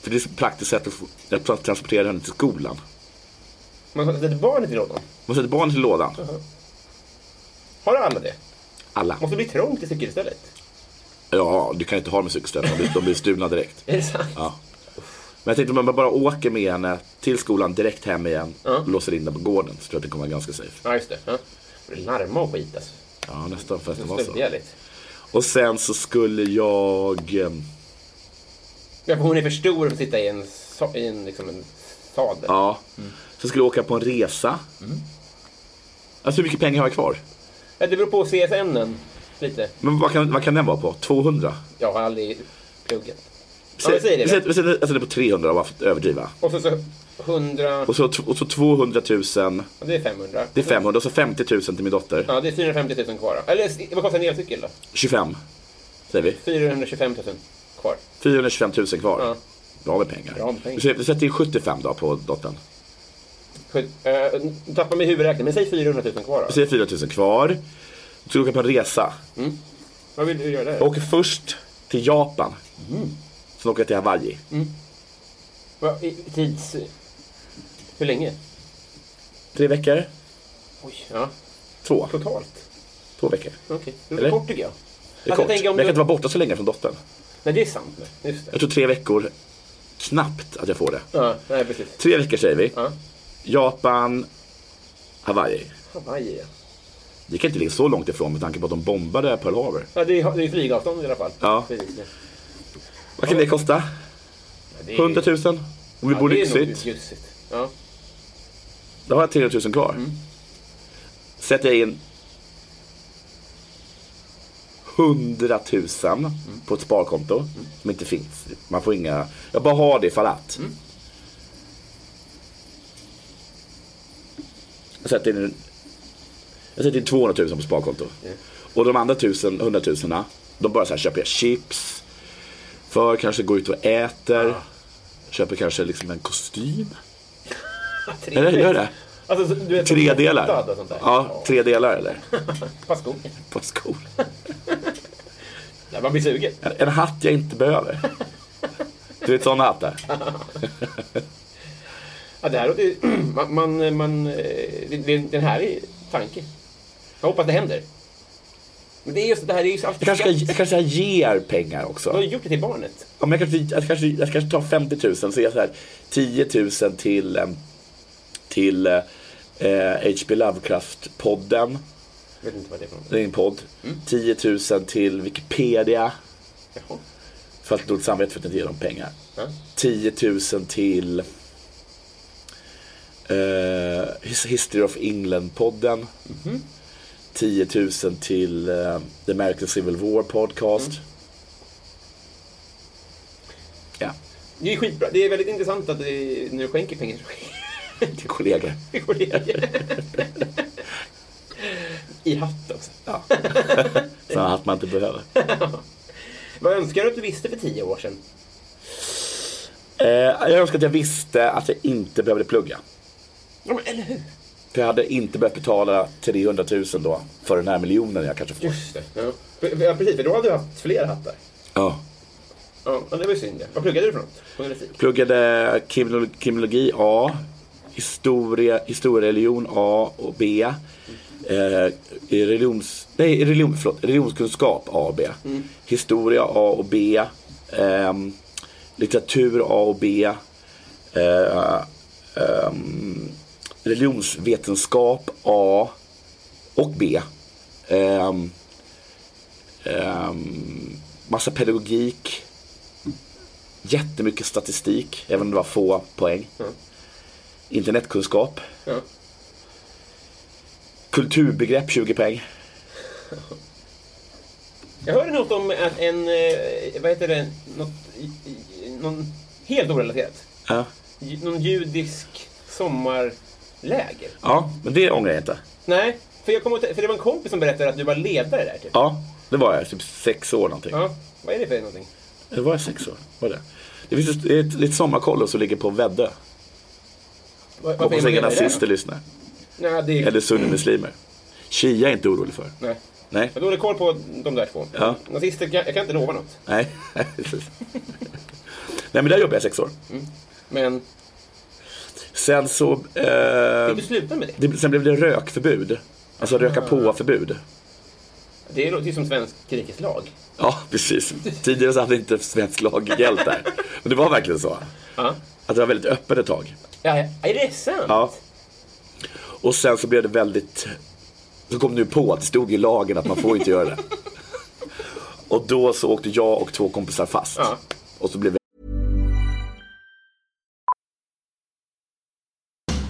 S2: För det är ett praktiskt sätt att, få, att transportera henne till skolan.
S1: Man sätter barnet i lådan.
S2: Man sätter barnet i lådan.
S1: Har alla det?
S2: Alla.
S1: Måste bli trångt i cykelstället.
S2: Ja, du kan ju inte ha dem i cykelställning. De blir- De blir stulna direkt.
S1: Är det sant?
S2: Ja. Men jag tänkte om man bara åker med henne till skolan, direkt hem igen, och låser in den på gården. Så tror jag att det kommer vara ganska safe.
S1: Ja, just det. Ja. Får du larma och skit alltså.
S2: Ja, nästan för att det var
S1: Stöddiga
S2: så.
S1: lite.
S2: Och sen så skulle jag... ehm,
S1: Ja, för hon är för stor för att sitta i en, sa- i en, liksom en sadel.
S2: Ja. Så skulle jag åka på en resa.
S1: Mm.
S2: Alltså hur mycket pengar har jag kvar?
S1: Ja, det beror på CSN -en lite.
S2: Men vad kan, vad kan den vara på? 200?
S1: Jag har aldrig pluggat. Ja,
S2: Säg-
S1: men säg det.
S2: vi sätter- vi sätter- Jag sätter på 300 bara för att överdriva.
S1: Och så, så 100...
S2: Och så, och så 200 000,
S1: Ja, det är 500.
S2: det är 500 och så 50 000 till min dotter.
S1: Ja, det är 450 000 kvar. då. Eller vad kostar en elcykel då?
S2: 25, säger vi.
S1: 425 000 kvar.
S2: 425 000 kvar.
S1: Ja.
S2: Bra med pengar.
S1: Bra med pengar.
S2: Vi sätter- Vi sätter in 75 då på dottern.
S1: Sju- eh, Nu tappar mig huvudräkningen, men säg 400 000 kvar
S2: Vi
S1: då.
S2: säger 4 000 kvar. Så ska vi åka på en resa.
S1: Vad vill du göra där?
S2: Jag åker först till Japan. Sen åker jag till Hawaii.
S1: Va, i, tids... Hur länge?
S2: Tre veckor.
S1: Oj, ja.
S2: Två.
S1: Totalt?
S2: Två veckor.
S1: Okej. Det
S2: Eller?
S1: låter kort tycker jag.
S2: Det är
S1: Alltså,
S2: kort.
S1: jag tänker om
S2: Men jag kan inte
S1: du...
S2: vara borta så länge från dottern.
S1: Nej, det är sant. nej. Just det.
S2: Jag tror tre veckor, knappt att jag får det.
S1: Ja, nej, precis.
S2: Tre veckor säger vi.
S1: Ja.
S2: Japan, Hawaii.
S1: Hawaii, ja.
S2: Det kan inte ligga så långt ifrån med tanke på att de bombade Pearl Harbor.
S1: Ja, det är, det är flygavstånd i alla fall.
S2: Ja.
S1: Precis, ja.
S2: Vad kan det kosta?
S1: Ja, det är-
S2: 100 000? Om vi
S1: Ja,
S2: bor
S1: det är nog
S2: lyxigt.
S1: bjussigt. Ja.
S2: Då har jag 300 000 kvar. Sätter jag in 100 000 på ett sparkonto som inte finns. Man får inga... Jag bara har det ifall att. Jag sätter in... Jag sätter in 200 000 på sparkonto. Och de andra 1000, 100 000 de bara så här köper jag chips. För kanske går ut och äter. Köper kanske liksom en kostym. Eller gör det?
S1: Alltså, så- du är så
S2: Tre
S1: hotad
S2: delar.
S1: Och sånt där.
S2: Ja, tre delar eller?
S1: Pass skogen.
S2: På skol.
S1: Ja, man blir sugen.
S2: En, en hatt jag inte behöver. Du vet sådana hattar.
S1: Ja, det här låter ju- man, man, man, eh, det, det, den här är tanke. Jag hoppas det händer. Men det är just det här, det är ju alltid
S2: Jag kanske,
S1: skatt.
S2: jag kanske jag ger pengar
S1: Du har
S2: också.
S1: ju gjort det till barnet.
S2: Ja, men jag, kanske, jag, kanske, jag kanske tar 50 000 så ger jag så här 10 000 till, em, till eh, H.P. Lovecraft-podden.
S1: Jag vet inte vad det är för något.
S2: Det är en podd.
S1: Mm.
S2: 10 000 till Wikipedia.
S1: Jaha.
S2: För att dåligt samvete för att inte ge dem pengar.
S1: Ja.
S2: 10 000 till eh, Eh, His- History of England-podden. 10 000 till eh, The American Civil War Podcast. Ja,
S1: Det är skitbra. Det är väldigt intressant att det, när du skänker pengar så
S2: till kollegor.
S1: skänker kollegor. I hatt också.
S2: Ja. Sådana att man inte behöver.
S1: Vad önskar du att du visste för tio år sedan?
S2: Eh, jag önskar att jag visste att jag inte behövde plugga.
S1: Ja, men, eller hur?
S2: För jag hade inte behövt betala 300 000 då för den här miljonen jag kanske får.
S1: Just det. Ja. För- för- Ja, precis, för då hade du haft fler hattar.
S2: Ja.
S1: Ja, men det var ju synd. ja. Vad pluggade du för något? Journalistik?
S2: Pluggade kriminologi, kriminologi A, historia, historiereligion A och B. Eh, i religions, nej, religion, förlåt, religionskunskap A och B. Historia A och B. ehm, litteratur A och B. Eh, ehm, religionsvetenskap A och B. Ehm, ehm, massa pedagogik jättemycket statistik, även om det var få poäng. Internetkunskap.
S1: Ja.
S2: Kulturbegrepp 20 poäng.
S1: Jag hörde något om att en, eh, vad heter det, något, i- i- någon helt orelaterat.
S2: Ja.
S1: Ju- Någon judisk sommarläger.
S2: ja, men det ångrar jag inte.
S1: Nej, för, jag kom åt, för det var en kompis som berättade att du var ledare där typ.
S2: Ja, det var jag. Typ sex år någonting.
S1: Ja. Vad är det för någonting?
S2: Det var jag sex år. Var det? Det finns ett, ett, ett sommarkollo som ligger på Väddö.
S1: Var, varför
S2: Hoppas
S1: är man
S2: inga
S1: ledare där?
S2: nazister lyssnar.
S1: Nej, det är...
S2: Eller sunnimuslimer. Shia är inte orolig för.
S1: Nej.
S2: Nej.
S1: Jag har dålig koll på de där två.
S2: Ja.
S1: Nazister, kan, jag kan inte lova något.
S2: Nej. Nej, men där jobbade jag sex år.
S1: Men
S2: Sen så... Eh,
S1: fick du sluta med det?
S2: det, sen blev det rökförbud. Alltså röka på-förbud.
S1: Det låter ju som svensk krikeslag.
S2: Ja, precis. Tidigare så hade inte svensk lag gällt där. Men det var verkligen så.
S1: Ja.
S2: Att det var väldigt öppet ett tag.
S1: Ja, är det sant?
S2: Ja. Och sen så blev det väldigt... Så kom nu på att det stod i lagen att man får inte göra det. Och då så åkte jag och två kompisar fast.
S1: Ja.
S2: Och så blev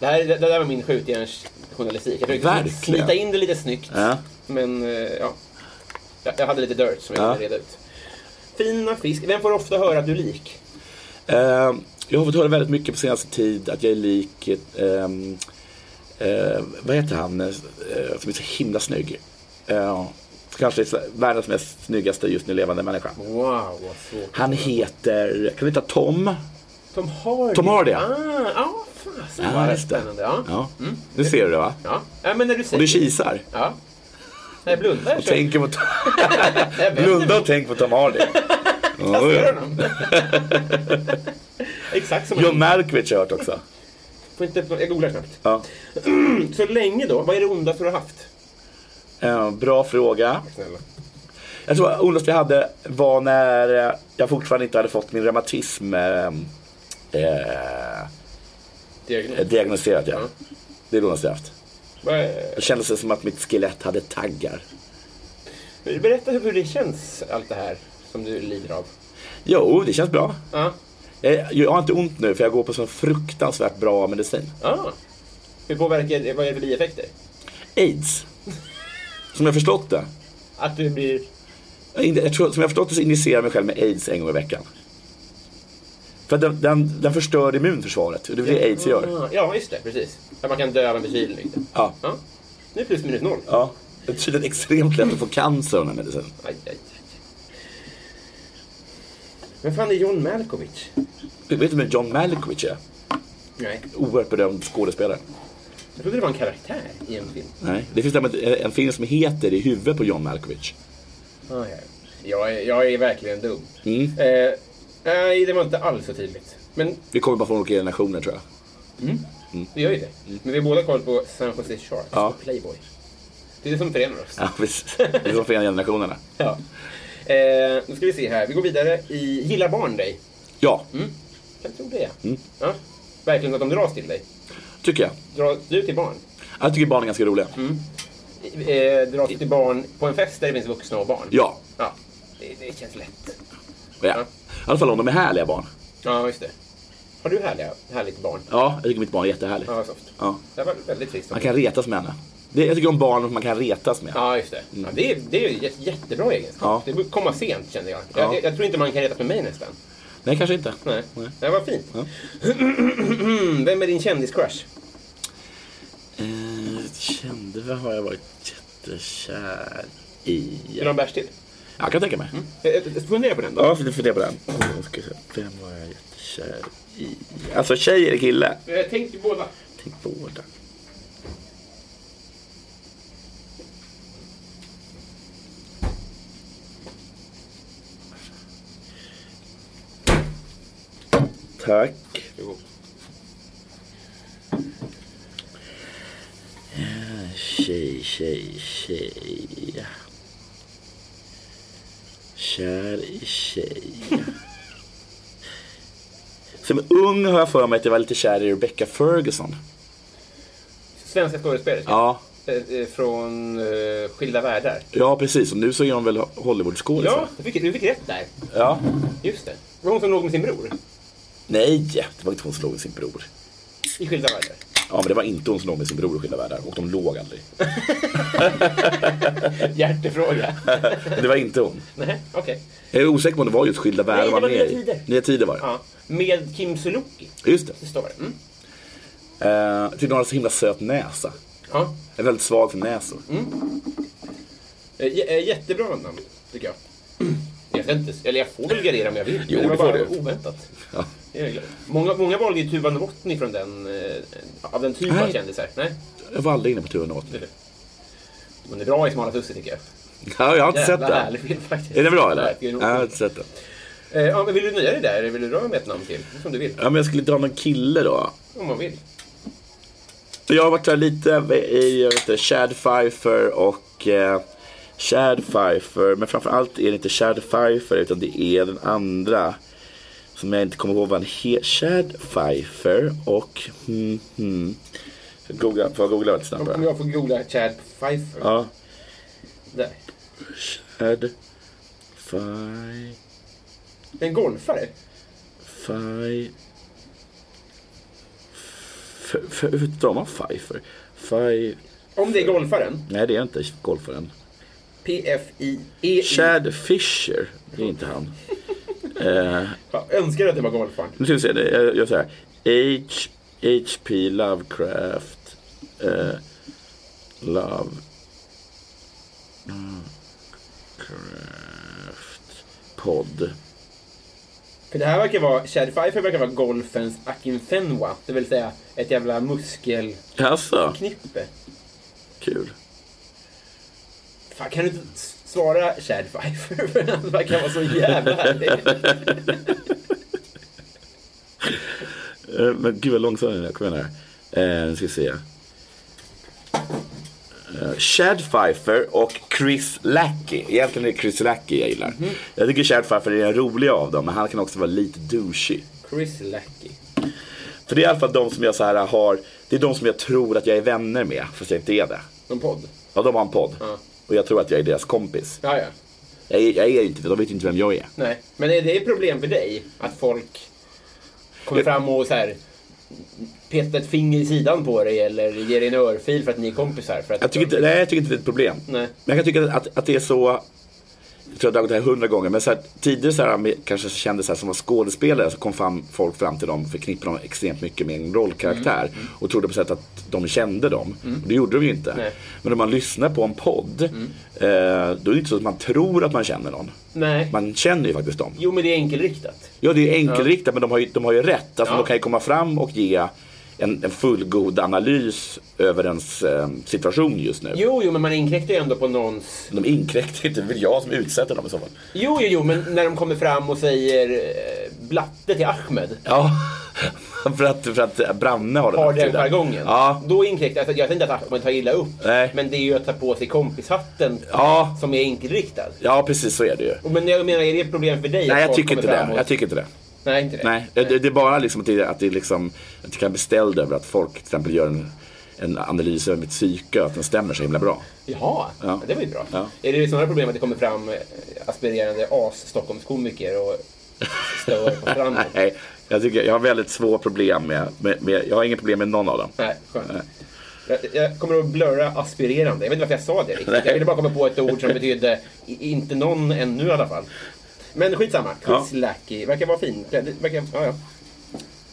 S1: Det, här, det, det där var min skjutjärnsjournalistik. Jag försökte
S2: Verkligen.
S1: smita in det lite snyggt.
S2: Ja.
S1: Men eh, ja, jag, jag hade lite dirt som jag
S2: Ja.
S1: kunde reda ut. Fina fisk. Vem får ofta höra att du är lik?
S2: Eh, jag har fått höra väldigt mycket på senaste tid att jag är lik... ehm, eh, vad heter han eh, som är så himla snygg? Eh, kanske världens mest snyggaste just nu levande människa.
S1: Wow, vad svårt.
S2: Han heter, kan vi ta Tom?
S1: Tom Hardy.
S2: Tom Hardy, ja.
S1: Ah, ja, fasen vad
S2: just det.
S1: spännande. Ja. Mm. Ja.
S2: Ja. Nu ser du det va?
S1: Ja. men när du
S2: Och
S1: säger...
S2: du kisar.
S1: Ja. Nej, blunda. Jag
S2: Och
S1: kör.
S2: tänker på Tom,
S1: Jag vet inte.
S2: blunda och tänk på Tom Hardy. Oh, ja.
S1: Exakt som
S2: John
S1: jag...
S2: Malkovich har jag hört också.
S1: Får inte... Jag googlar snabbt.
S2: Ja.
S1: Så länge då, vad är det ondaste du har haft?
S2: Eh, bra fråga.
S1: Snälla.
S2: Jag tror att ondast jag hade var när eh, jag fortfarande inte hade fått min reumatism eh, eh,
S1: Diagnos.
S2: diagnostiserad. Ja. Det är det ondaste jag haft.
S1: Vad är-
S2: Det kändes det som att mitt skelett hade taggar.
S1: Berätta hur det känns, allt det här som du lider av.
S2: Jo, det känns bra.
S1: Ja.
S2: Jag, jag har inte ont nu för jag går på sån fruktansvärt bra medicin.
S1: Ah. Hur påverkar det, vad är det för bieffekter?
S2: Aids. Som jag förstått det.
S1: Att du blir...
S2: Jag in- Jag tror, som jag förstått det så injicerar jag mig själv med aids en gång i veckan. För att den, den, den förstör immunförsvaret. och Det är det aids gör.
S1: Ah, Ja, just det. Precis. Att man kan dö av en förkylning.
S2: Ja.
S1: Ja. Nu är plus minus noll.
S2: ja. Det är tydligen extremt lätt att få cancer av den här medicinen.
S1: Aj, aj, aj. Vem fan är John Malkovich?
S2: Vet du vem John Malkovich är?
S1: Nej.
S2: Oerhört berömd skådespelare.
S1: Jag trodde det var en karaktär i en film.
S2: Nej. Det finns däremot en en film som heter I huvudet på John Malkovich.
S1: Ah, ja. jag, är, jag är verkligen dum.
S2: Mm.
S1: Eh, nej, det var inte alls så tydligt. Men
S2: Vi kommer bara från olika generationer tror jag.
S1: vi gör ju det. Men vi har båda koll på San Jose Sharks
S2: Ja.
S1: och Playboy. Det är det som förenar oss.
S2: Ja, precis. Det är som från generationerna.
S1: Ja. Eh, nu ska vi se här. Vi går vidare i Gillar barn dig?
S2: Ja,
S1: Jag tror det.
S2: Mm.
S1: Ja. Verkligen att de dras till dig.
S2: tycker jag.
S1: Dras du till barn?
S2: Jag tycker barn är ganska roliga.
S1: Eh, dras du till barn på en fest där det finns vuxna och barn?
S2: Ja.
S1: ja. Det, det känns lätt.
S2: ja. I alla fall om de är härliga barn.
S1: Ja, just det. Har du härliga, härligt barn?
S2: Ja, jag tycker mitt barn är jättehärligt.
S1: Ja, vad soft.
S2: Ja.
S1: Det var väldigt trist.
S2: Man kan retas med henne. Det, jag tycker om barn som man kan retas med.
S1: Ja, just det. Ja, det, är, det är ju jä- jättebra egenskap.
S2: Ja.
S1: Det borde komma sent, känner jag.
S2: Ja.
S1: Jag, jag. jag tror inte man kan retas med mig nästan.
S2: Nej, kanske inte.
S1: Nej, det var fint. Vem är din kändiscrush?
S2: Eh, kände, vad har jag varit jättekär i?
S1: Är de bärs till?
S2: Jag kan tänka mig.
S1: Eh, eh, Fundera på den då.
S2: Ja, för fundera på den. Jag ska se, Vem var jag jättekär i? Alltså tjej eller kille?
S1: Eh, Tänk till båda.
S2: Tänk båda. Tack.
S1: Jo.
S2: Tjej, tjej, tjej. Kär i tjej. Som ung har jag för mig att jag var lite kär i Rebecca Ferguson.
S1: Svenska skådespelerskor.
S2: Ja,
S1: Eh, eh, Från eh, Skilda Världar.
S2: ja precis. Och nu så är hon väl Hollywoodskådis?
S1: Ja,
S2: va?
S1: du fick, du fick rätt där.
S2: ja.
S1: Just det. Det var hon som låg med sin bror
S2: Nej, det var inte hon som låg med sin bror.
S1: i Skilda Världar.
S2: Ja, men det var inte hon som låg med sin bror i Skilda Världar. Och de låg aldrig.
S1: Hjärtefråga.
S2: Det var inte hon.
S1: Nej, okej.
S2: Jag är osäker på om det var just Skilda Världar
S1: Nej, det
S2: hon
S1: var
S2: med
S1: Nya
S2: i.
S1: Tider.
S2: Nya Tider var det.
S1: Ja. Med Kim Sulocki.
S2: Just det.
S1: Det står det. Mm.
S2: Eh, tyckte hon hade så himla söt näsa.
S1: Ja.
S2: Jag är väldigt svag för näsor.
S1: Mm. Eh, jä- eh, Jättebra namn, tycker jag. Jag, ska inte, eller jag får väl gardera om jag vill.
S2: Jo,
S1: men
S2: det
S1: det
S2: får
S1: var
S2: du.
S1: bara oväntat.
S2: Ja.
S1: Det är jag glad. Många, många valde ju Tuva Novotny från den, eh, av den typen av
S2: Nej.
S1: kändisar. Nej,
S2: Jag var aldrig inne på turen åt.
S1: hon är bra i Smala Tusse tycker jag.
S2: Ja, jag har inte sett
S1: härlig
S2: den.
S1: film faktiskt.
S2: Är den bra eller?
S1: Nej, det är
S2: jag
S1: nog-
S2: har inte sett den.
S1: Eh, ja, men vill du nöja dig där eller vill du dra med ett namn till? Som du vill,
S2: Ja, men jag skulle dra någon kille då.
S1: om man vill.
S2: Jag har varit där lite i jag vet inte, Chad Pfeiffer och eh, Chad Pfeiffer. Men framförallt är det inte Chad Pfeiffer utan det är den andra. Som jag inte kommer ihåg vad han heter. Chad Pfeiffer och... Hmm, hmm. Ska jag googla- Får jag googla lite
S1: Om
S2: snabbare?
S1: jag får googla Chad Pfeiffer.
S2: Ja.
S1: Där.
S2: Chad Pfeiffer.
S1: En golfare?
S2: Faj... F- f- Hur drar man Pfeiffer? Faj...
S1: Om det är golfaren.
S2: Nej, det är inte golfaren.
S1: P-F-I-E-I.
S2: Chad Fisher. Det är inte han.
S1: Ja, önskar att det var golfaren.
S2: Nu ska vi se. det- Jag gör så här. H... H.P. Lovecraft. Eh, love... Lovecraft... Podd.
S1: För det här verkar vara, Chad Pfeiffer verkar vara golfens Akin Fenwa. Det vill säga ett jävla muskelknippe.
S2: Jaså? Kul.
S1: Fan, kan du inte s- svara Chad Pfeiffer? För han verkar vara så jävla härlig.
S2: Eh, Men gud vad långsam den är. Kom igen här. Eh, nu ska vi se. Eh, Chad Pfeiffer och Chris Lackey. Egentligen är det Chris Lackey jag gillar. Jag tycker Chad Pfeiffer är den roliga av dem, men han kan också vara lite douchey.
S1: Chris Lackey.
S2: För det är i alla fall de som jag så här har, det är de som jag tror att jag är vänner med, fast jag inte är det.
S1: Någon podd?
S2: Ja, de har en podd. Och jag tror att jag är deras kompis.
S1: Ja, ja.
S2: Jag är, jag är ju inte det, de vet ju inte vem jag är.
S1: Nej. Men är det ett problem för dig att folk kommer fram och så här petar ett finger i sidan på dig eller ger dig en örfil för att ni är kompisar? För att
S2: Jag tycker inte, nej, jag tycker inte det är ett problem.
S1: Nej.
S2: Men jag kan tycka att, att, att det är så... tror jag dragit det här hundra gånger, men så här, tidigare så här, med- kanske kändes så här, som var skådespelare så kom fram, folk fram till dem och förknippade dem extremt mycket med en rollkaraktär. Och trodde på sätt att de kände dem. Och det gjorde de ju inte.
S1: Nej.
S2: Men om man lyssnar på en podd, eh, då är det inte så att man tror att man känner någon.
S1: Nej.
S2: Man känner ju faktiskt dem.
S1: Jo, men det är enkelriktat.
S2: Ja, det är ju enkelriktat, men de har ju, de har ju rätt. Alltså,
S1: Ja.
S2: De kan ju komma fram och ge en, en fullgod analys över ens eh, situation just nu.
S1: Jo, jo, men man inkräktar ju ändå på någons...
S2: De inkräktar inte, det är väl jag som utsätter dem i så fall.
S1: Jo, jo, jo, men när de kommer fram och säger eh, blatte till Ahmed.
S2: Ja, för att, för att Branne har den
S1: Har den
S2: attityden.
S1: jargongen.
S2: Ja,
S1: Då inkräktar alltså, jag tänkte att Ahmed tar illa upp.
S2: Nej.
S1: Men det är ju att ta på sig kompishatten
S2: Ja.
S1: som är enkelriktad.
S2: ja, precis så är det ju.
S1: Och Men jag menar, är det ett problem för dig? att
S2: Nej, jag
S1: folk
S2: tycker
S1: kommer
S2: inte
S1: fram
S2: det.
S1: och-
S2: Jag tycker inte det.
S1: Nej, inte det.
S2: Nej, det, det är bara liksom att det, att det är liksom, att jag kan bli ställd över att folk till exempel gör en, en analys över mitt psyke och att den stämmer så himla bra.
S1: Jaha,
S2: Ja.
S1: det var ju bra.
S2: Ja.
S1: Är det snarare problem att det kommer fram eh, aspirerande as-Stockholmskomiker och stör på framgång?
S2: Nej, jag, tycker, jag har väldigt svåra problem med, med, med, jag har inget problem med någon av dem.
S1: Nej, skönt. Jag, jag kommer att blurra aspirerande. Jag vet inte varför jag sa det riktigt.
S2: Nej.
S1: Jag ville bara komma på ett ord som betydde i- inte någon ännu i alla fall. Men skitsamma.
S2: Ja.
S1: Quislaki verkar vara fin. Det Verkar, ja, ja.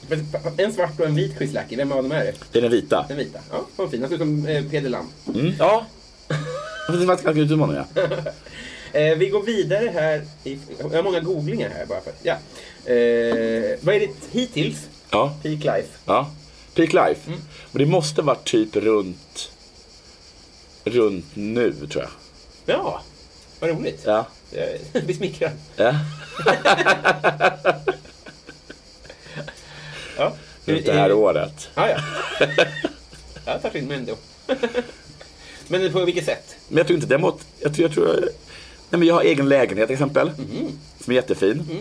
S1: Men En svart och en vit quislaki. Vem av dem är det?
S2: Det är den vita.
S1: Den vita? Ja, de fina. Ser ut som eh, Peder Lam.
S2: Mm. Ja. Det var ganska utmanande. ja.
S1: Eh, vi går vidare här. I, jag har många googlingar här bara för ja. eh, Vad är ditt hittills?
S2: Ja. Mm.
S1: Peak life.
S2: Ja. Peak life. Och det måste varit typ runt, runt nu tror jag.
S1: Ja, vad roligt.
S2: Ja.
S1: Jag blir smickrad.
S2: Ja.
S1: Ja.
S2: Runt det här
S1: Eh,
S2: året.
S1: Ja, ja. Jag tar in mig ändå. Men på vilket sätt?
S2: Men jag tror inte däremot, jag tror, jag tror, nej men jag har egen lägenhet till exempel. Som är jättefin.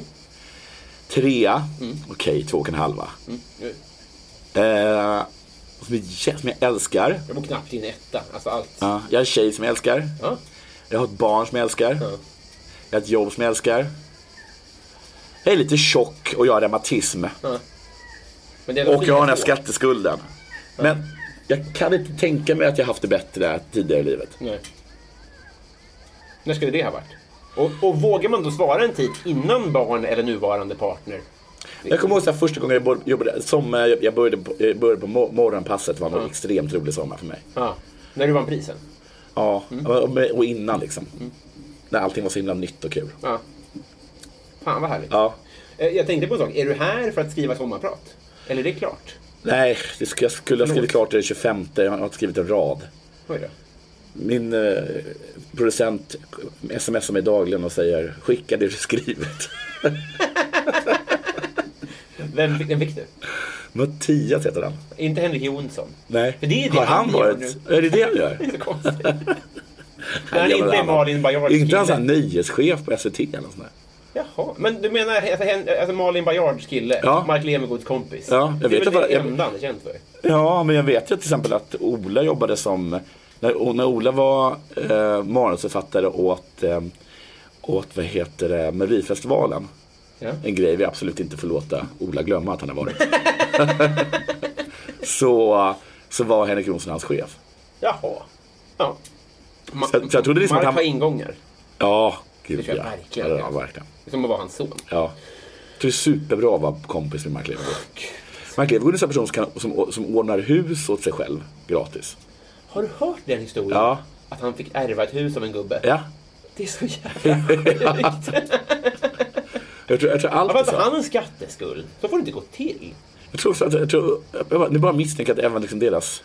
S2: Trea, okej två och en halva. Eh, som, är, jä- som jag älskar.
S1: Jag bor knappt i en etta. Alltså allt.
S2: Ja, jag har en tjej som jag älskar.
S1: Ja.
S2: Jag har ett barn som jag älskar.
S1: Ja.
S2: Jag har ett jobb som jag älskar. Jag är lite tjock och jag har reumatism.
S1: Men det är
S2: Och jag har den här
S1: på.
S2: skatteskulden. Men jag kan inte tänka mig att jag haft det bättre tidigare i livet.
S1: Nej. När skulle det ha varit? Och, och vågar man då svara en tid innan barn eller nuvarande partner?
S2: Jag kommer ihåg så här, första gången jag bor- jobbade, sommar, jag började på, jag började på mor- morgonpasset. Det var en extremt rolig sommar för mig.
S1: Ja. När du vann prisen?
S2: Ja, och, och innan liksom. När allting var så himla nytt och kul.
S1: Ja. Fan vad härligt.
S2: Ja.
S1: Eh, Jag tänkte på en sak. Är du här för att skriva sommarprat? Eller är det klart?
S2: Nej, det sk- jag skulle ha skrivit klart det den 25. Jag har inte skrivit en rad.
S1: Oj då.
S2: Min eh, producent smsar mig dagligen och säger skicka det du skrivit.
S1: Vem fick, vem fick du?
S2: Mattias heter han.
S1: Inte Henrik Jonsson.
S2: Nej.
S1: För det är det
S2: har han,
S1: han gör
S2: varit? Är det det han gör?
S1: Det är så konstigt.
S2: Nej,
S1: Nej,
S2: det gör
S1: inte
S2: väl
S1: Malin Baryards
S2: Inte han
S1: kille.
S2: sån här nöjeschef på SVT eller något sånt där?
S1: Jaha, men du menar alltså, hen- alltså Malin Baryards kille,
S2: Ja.
S1: Mark Levengoods kompis?
S2: Ja, jag vet
S1: det är väl
S2: att-
S1: det
S2: jag-
S1: enda han är känd för?
S2: Ja, men jag vet ju till exempel att Ola jobbade som, när, när Ola var eh, manusförfattare åt, eh, åt vad heter det, Melodifestivalen.
S1: Ja.
S2: En grej vi absolut inte får låta Ola glömma att han har varit. så, så var Henrik Jonsson hans chef.
S1: Jahaha. Ja. Ma-
S2: Så- så jag trodde liksom
S1: Mark
S2: att han-
S1: har ingångar.
S2: Ja, gud
S1: Det
S2: ja.
S1: tror jag verkligen.
S2: Ja, verkligen.
S1: Det är Som att vara hans son.
S2: Ja. Det är superbra att vara kompis med Mark Levengood. Mark Levengood är en sån person som, kan, som, som ordnar hus åt sig själv gratis.
S1: Har du hört den historien?
S2: Ja.
S1: Att han fick ärva ett hus av en gubbe?
S2: Ja.
S1: Det är så jävla sjukt.
S2: Jag tror, jag tror allt
S1: Varför
S2: är
S1: inte
S2: så.
S1: hans skatteskuld? Så får det inte gå till.
S2: Jag tror också att, jag tror, jag bara, nu bara misstänker att även liksom deras,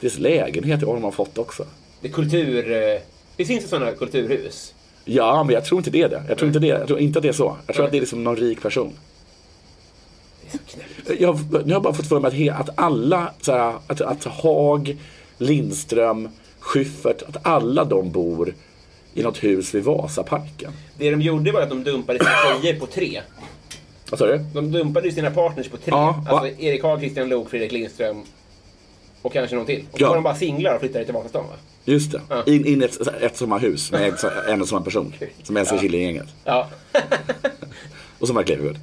S2: deras lägenhet har de har fått också.
S1: Det är kultur... eh, Det finns ju sådana kulturhus.
S2: Ja, men jag tror inte det är det. Jag tror inte, det, jag tror inte att det är så. Jag tror att det är liksom någon rik person.
S1: Det är så knäppt.
S2: Jag, nu har jag bara fått för mig att, he- att alla, så här, att, att Haag, Lindström, Schyffert, att alla de bor i något hus vid Vasaparken.
S1: Det de gjorde var att de dumpade sina tjejer på tre.
S2: Vad sa du?
S1: De dumpade ju sina partners på tre.
S2: Ja,
S1: alltså
S2: va?
S1: Erik Haag, Christian Lok, Fredrik Lindström och kanske någon till. Och så
S2: Ja.
S1: var de bara singlar och flyttade till Vasastan va?
S2: Just det. In, in i ett, ett sommarhus med en, så- en och samma person. Som älskar Killinggänget.
S1: Ja.
S2: Och som Mark Levengood.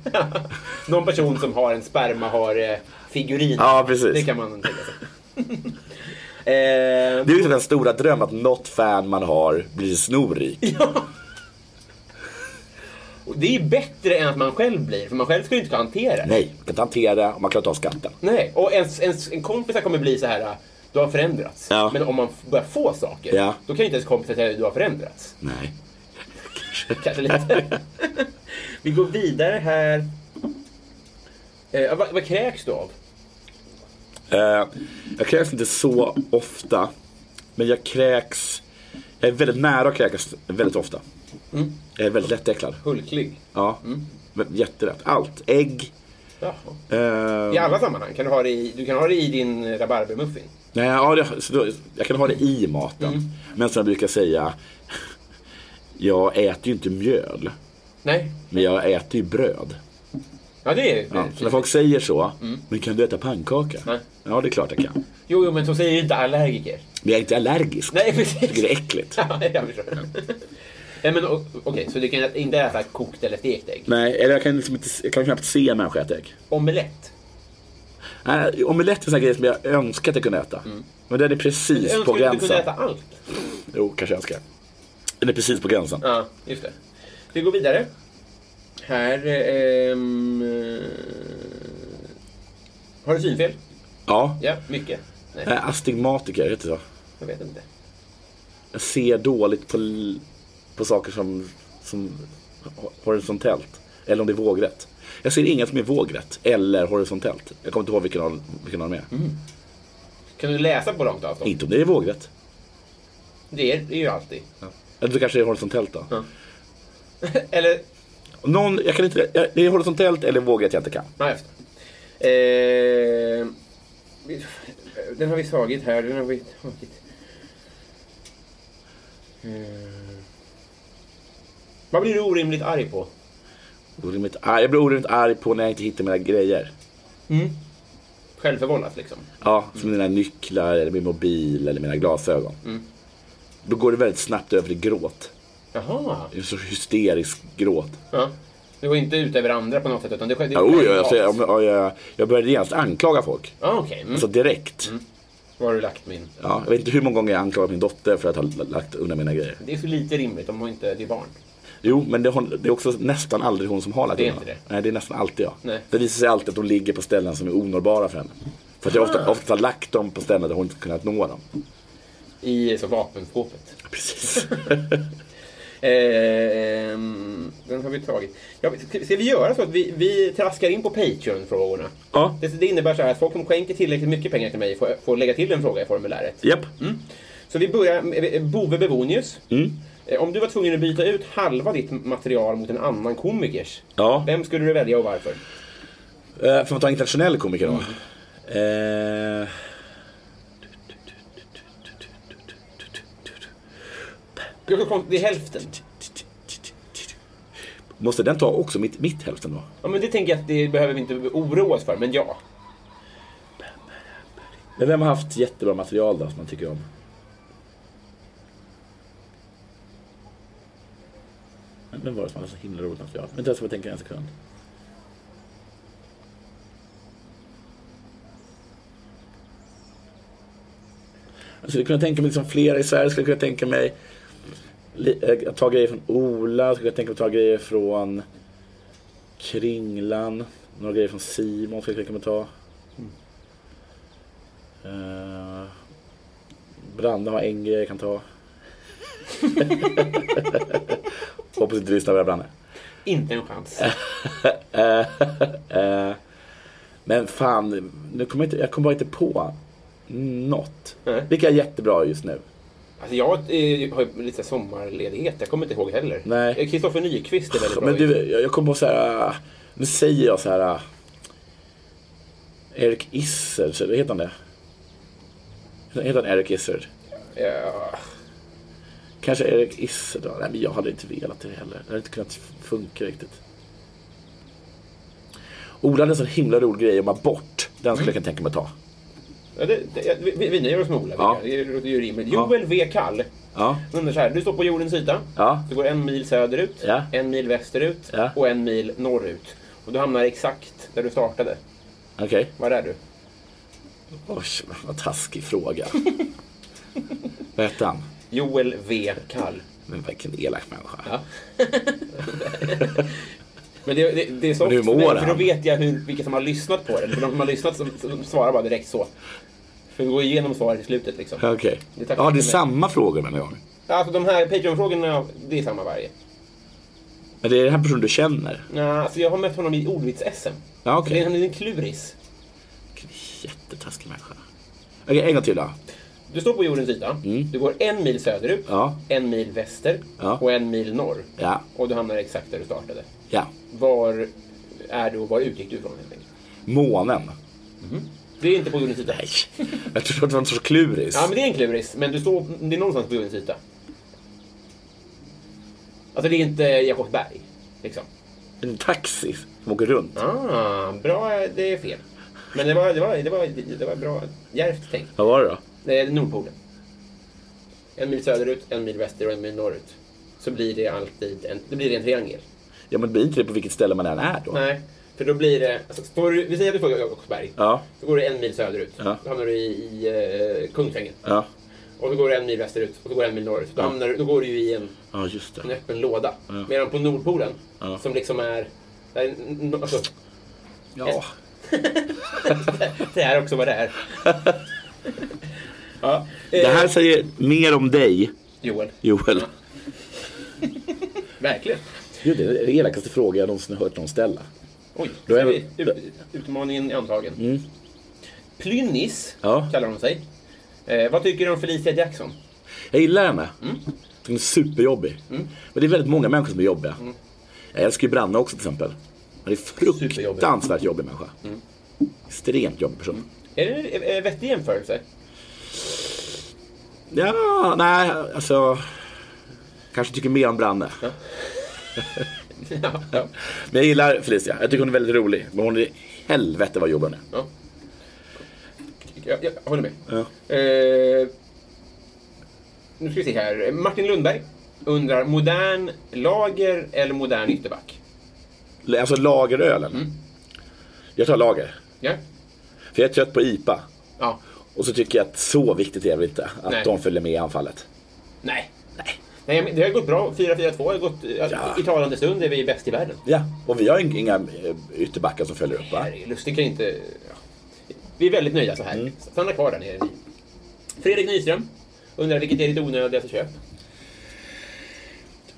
S1: någon person som har en spermahare-figurin.
S2: Ja, precis.
S1: Det kan man tänka sig. eh,
S2: typ Det är ju den stora drömmen att något fan man har blir snorrik.
S1: Och det är ju bättre än att man själv blir, för man själv ska ju inte kunna hantera det.
S2: Nej, man kan inte hantera det och man klarar inte av skatten.
S1: Nej, och ens, ens, en kompis kommer bli så här, äh, du har förändrats.
S2: Ja.
S1: Men om man f- börjar få saker,
S2: Ja.
S1: då kan ju inte ens kompisar säga, du har förändrats.
S2: Nej.
S1: Kanske lite. Vi går vidare här. Eh, vad, vad kräks du av?
S2: Eh, jag kräks inte så ofta. Men jag kräks. Jag är väldigt nära att kräkas väldigt ofta.
S1: Mm.
S2: Jag är väldigt lättäcklad.
S1: Hulklig?
S2: Ja. Mm. Jättelätt. Allt. Ägg.
S1: Jaha.
S2: Eh,
S1: I alla sammanhang? Kan du, ha det i, du kan ha det i din eh, rabarbermuffin?
S2: nej, ja, det, så då, jag kan ha det i maten.
S1: Mm.
S2: Men som jag brukar säga. Jag äter ju inte mjöl.
S1: Nej.
S2: Men jag äter ju bröd.
S1: Ja, det är
S2: Ja, så när folk säger så. Men kan du äta pannkaka?
S1: Mm. Nej.
S2: Ja, det är klart jag kan.
S1: Jo, jo, men så säger ju inte allergiker.
S2: Men jag är inte allergisk.
S1: Nej,
S2: Jag
S1: precis.
S2: tycker det är äckligt.
S1: Ja, jag förstår. Nej, men o- okej, så du kan inte äta kokt eller stekt ägg?
S2: Nej, eller jag kan, liksom inte, jag kan knappt se en människa äta ägg.
S1: Omelett?
S2: Nej, Omelett är en sån här grej som jag önskar att jag kunde äta. Men den är precis
S1: Mm. Jag
S2: på
S1: önskar att du
S2: gränsen.
S1: kunde äta allt.
S2: Jo, kanske jag önskar. Den är precis på gränsen.
S1: Ja, just det. Vi går vidare. Här... ehm, eh, har du synfel?
S2: Ja.
S1: Ja, mycket. Nej,
S2: Eh, Astigmatiker, heter det så?
S1: jag vet inte.
S2: Jag ser dåligt på, l- på saker som, som ho- horisontellt. Eller om det är vågrätt. Jag ser inget som är vågrätt eller horisontellt. Jag kommer inte ihåg vilken av, vilken av dem är.
S1: Mm. Kan du läsa på långt avstånd?
S2: Inte om det är vågrätt.
S1: Det är det är ju alltid.
S2: Eller det kanske är horisontellt då.
S1: Eller...
S2: Någon, jag kan inte, jag, det är horisontellt eller vågrätt jag inte kan.
S1: Nej, just det. Eh, vi- den har vi tagit här. Den har vi tagit. Eh, vad blir du orimligt arg på?
S2: Orimligt arg. Jag blir orimligt arg på när jag inte hittar mina grejer.
S1: Självförvållat liksom.
S2: Ja, som mina nycklar, eller min mobil eller mina glasögon.
S1: Mm.
S2: Då går det väldigt snabbt över till gråt.
S1: Jaha.
S2: En sorts hysterisk gråt.
S1: Ja. Du går inte ut över andra på något sätt utan det sker... det-
S2: Ja, oj, jag, jag, jag, jag, jag började genast anklaga folk.
S1: Ja, okej. Mm.
S2: Alltså direkt.
S1: Var har du lagt min?
S2: Ja, jag vet inte hur många gånger jag anklagat min dotter för att ha l- lagt undan mina grejer.
S1: Det är så lite rimligt om hon inte det är barn.
S2: Jo, men det, har- det är också nästan aldrig hon som har lagt
S1: Det är
S2: undan.
S1: inte
S2: Nej, det är nästan alltid jag.
S1: Nej.
S2: Det visar sig alltid att hon ligger på ställen som är onåbara för henne. För att jag ofta,
S1: Ah.
S2: ofta har lagt dem på ställen där hon inte kunnat nå dem.
S1: I så vapenskåpet.
S2: Precis.
S1: Ehm, den har vi tagit. Ja, ska ska vi göra så att vi, vi traskar in på Patreon-frågorna?
S2: Ja.
S1: Det, det innebär så här att folk som skänker tillräckligt mycket pengar till mig får, får lägga till en fråga i formuläret.
S2: Japp.
S1: Så vi börjar med eh, Bove Bevonius.
S2: Mm.
S1: Eh, Om du var tvungen att byta ut halva ditt material mot en annan komikers,
S2: Ja.
S1: vem skulle du välja och varför?
S2: Eh, Får man ta en internationell komiker då? Eh,
S1: Jag tror att Det är hälften.
S2: måste den ta också mitt, mitt hälften då?
S1: Ja, men det tänker jag att det behöver vi inte oroa oss för, men ja.
S2: Men vem har haft jättebra material då som man tycker om? Men Vem var det som hade så himla roligt material? Vänta jag ska bara tänka en sekund. Jag skulle kunna tänka mig liksom flera i Sverige, skulle kunna tänka mig li- eh, att ta grejer från Ola, skulle kunna tänka mig att ta grejer från Kringlan, några grejer från Simon skulle jag kunna tänka mig att ta. Uh, Branne har en grej jag kan ta. Hoppas inte du lyssnar på det här, Branne.
S1: Inte en chans.
S2: Eh, men fan, nu kommer jag, inte, jag kommer bara inte på något.
S1: Nej.
S2: Vilka är jättebra just nu?
S1: Alltså jag eh, har ju lite sommarledighet, jag kommer inte ihåg heller.
S2: Nej.
S1: Eh, Kristoffer Nyqvist är väldigt bra.
S2: Men du, jag, jag kommer på så här. ah, Nu säger jag så här. ah, Erik Isser, så- heter han det? Heter han Erik Isser?
S1: Ja,
S2: Kanske Erik Isser då? Nej, men jag hade inte velat det heller. Det hade inte kunnat funka riktigt. Ola hade en sån himla rolig grej om abort. Den skulle jag kunna tänka mig att ta.
S1: Ja, det, det, ja, vi, vi nöjer oss med Ola.
S2: Ja.
S1: Det låter ju rimligt. Joel V. Kall.
S2: Ja.
S1: Han undrar så här, du står på jordens yta.
S2: Ja.
S1: Du går en mil söderut,
S2: Ja.
S1: en mil västerut
S2: Ja.
S1: och en mil norrut. Och du hamnar exakt där du startade.
S2: Okej.
S1: Var är du?
S2: Oj, vad taskig fråga. vad hette han?
S1: Joel V. Kall.
S2: Men vilken elak människa.
S1: Men det, det, det är så
S2: Men hur
S1: ofta för
S2: mår
S1: mig, för då
S2: han?
S1: vet jag hur, vilka som har lyssnat på det. För de som har lyssnat som, som svarar bara direkt så. För vi går igenom svaret i slutet liksom.
S2: Ja, Okej.
S1: Det tackar
S2: Ja,
S1: för
S2: det är
S1: mig.
S2: samma frågor menar jag.
S1: Alltså de här Patreon-frågorna, det är samma varje.
S2: Men det är den här personen du känner.
S1: Nej, alltså jag har mött honom i ordvits-SM.
S2: Ja,
S1: Så det
S2: okej.
S1: är en liten kluris.
S2: Jättetaskig människa. Okej, en gång till då.
S1: Du står på jordens yta. Du går en mil söderut,
S2: Mm. Ja.
S1: en mil väster
S2: Ja.
S1: och en mil norr.
S2: Ja.
S1: Och du hamnar exakt där du startade.
S2: Ja.
S1: Var är du och var utgick du ifrån helt enkelt?
S2: Månen.
S1: Det är inte på jordens yta. Nej.
S2: Jag trodde det var en sorts kluris.
S1: Ja, men det är en kluris. Men du står, det är någonstans på jordens yta. Alltså det är inte Jakobsberg. Liksom.
S2: En taxi som åker runt.
S1: Ah, bra, det är fel. Men det var, det var, det var, det var bra, djärvt tänkt.
S2: Vad var det då?
S1: Det är Nordpolen. En mil söderut, en mil väster och en mil norrut. Så blir det alltid en, det blir en triangel.
S2: Ja, men det blir inte det på vilket ställe man än är då?
S1: Nej, för då blir det... Alltså, står du, vi säger att du får Jakobsberg.
S2: Ja.
S1: Då går du en mil söderut.
S2: Ja.
S1: Då hamnar du i, i eh, Kungsängen.
S2: Ja.
S1: Och då går du en mil västerut och då går du en mil norrut. Då, hamnar, du- då går du ju i en,
S2: Ja, just
S1: en
S2: det.
S1: öppen låda. Medan på Nordpolen,
S2: Ja.
S1: som liksom är... Där, är n- alltså,
S2: Ja.
S1: det här är också vad det är. ja.
S2: Det
S1: eh,
S2: här säger mer om dig,
S1: Joel,
S2: Joel.
S1: verkligen.
S2: Gud, det är den elakaste frågan jag någonsin har hört någon ställa.
S1: Oj,
S2: Då är
S1: så
S2: vi- Mm.
S1: vi- ut- utmaningen är antagen. Plynnis
S2: Ja.
S1: kallar hon sig. Eh, vad tycker du om Felicia Jackson?
S2: Jag gillar henne. Hon är superjobbig. Men det är väldigt många människor som är jobbiga. Jag älskar ju Branne också till exempel. Men det är fruktansvärt jobbig människa. Extremt jobbig person.
S1: Är det en eh, vettig jämförelse?
S2: Ja, nej, alltså. Kanske tycker mer om Branne.
S1: ja, ja,
S2: Men jag gillar Felicia. Jag tycker hon är väldigt rolig. Men hon är helvete vad jobbig hon är.
S1: ja. Jag, jag håller med.
S2: Ja.
S1: Eh, nu ska vi se här. Martin Lundberg undrar, modern lager eller modern ytterback?
S2: Alltså lagerölen.
S1: Mm.
S2: Jag tar lager.
S1: Ja,
S2: För jag är trött på IPA.
S1: ja.
S2: Och så tycker jag att så viktigt är det inte. Att
S1: Nej.
S2: de följer med i anfallet.
S1: nej. nej. Nej, men det har gått bra. 4-4-2 har gått... eh,
S2: Ja.
S1: I talande stund är vi bäst i världen.
S2: Ja, och vi har ing- inga eh, ytterbackar som följer upp va?
S1: Nej, Lustig kan inte... Ja. Vi är väldigt nöjda så här.
S2: Mm.
S1: Stanna kvar där nere. ni. Fredrik Nyström undrar vilket är ditt onödigaste köp?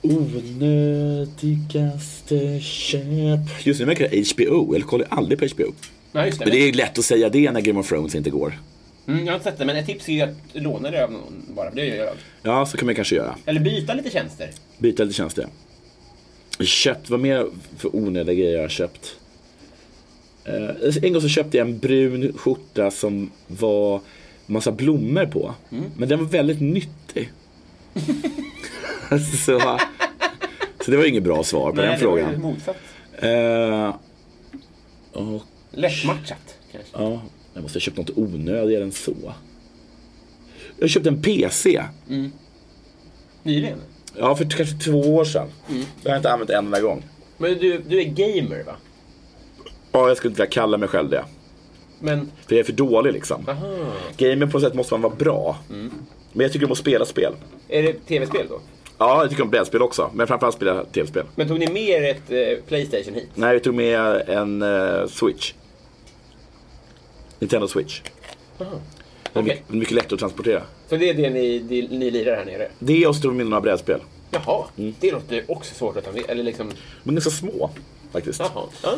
S2: Onödigaste köp. Just nu märker jag HBO. Jag kollar aldrig på HBO.
S1: Nej, just
S2: Men det är lätt att säga det när Game of Thrones inte går.
S1: Mm, jag har inte sett det, men ett tips är att låna det av någon bara, för det gör jag.
S2: Ja, så kan man kanske göra.
S1: Eller byta lite tjänster.
S2: Byta lite tjänster. Köpt, vad mer för onödiga grejer jag har köpt? Eh, en gång så köpte jag en brun skjorta som var massa blommor på.
S1: Mm.
S2: Men den var väldigt nyttig. så, så det var inget bra svar på den
S1: det var ju
S2: frågan.
S1: motsatt.
S2: Eh, och
S1: Lättmatchat, kanske.
S2: ja, jag måste ha köpt något onödigare än så. Jag köpte en PC.
S1: Mm. Nyligen.
S2: Ja, för t- kanske två år sedan.
S1: Mm.
S2: Jag har inte använt en enda gång.
S1: Men du, du är gamer, va?
S2: Ja, jag skulle inte vilja kalla mig själv det.
S1: Men,
S2: För jag är för dålig liksom.
S1: aha. Mm.
S2: Gamer på något sätt måste man vara bra. Men jag tycker om att spela spel.
S1: Är det tv-spel då?
S2: Ja, jag tycker om brädspel också. Men framförallt spela tv-spel.
S1: Men tog ni med er ett eh, Playstation hit?
S2: Nej, jag tog med en eh, Switch. Nintendo Switch. Den är
S1: Okej.
S2: mycket, mycket lätt att transportera.
S1: Så det är det ni, det, ni lirar här nere? Mm.
S2: Det och så tog jag med några brädspel.
S1: Jaha, det låter också svårt att ta med. Eller liksom,
S2: Men ganska små faktiskt.
S1: jaha. Ja.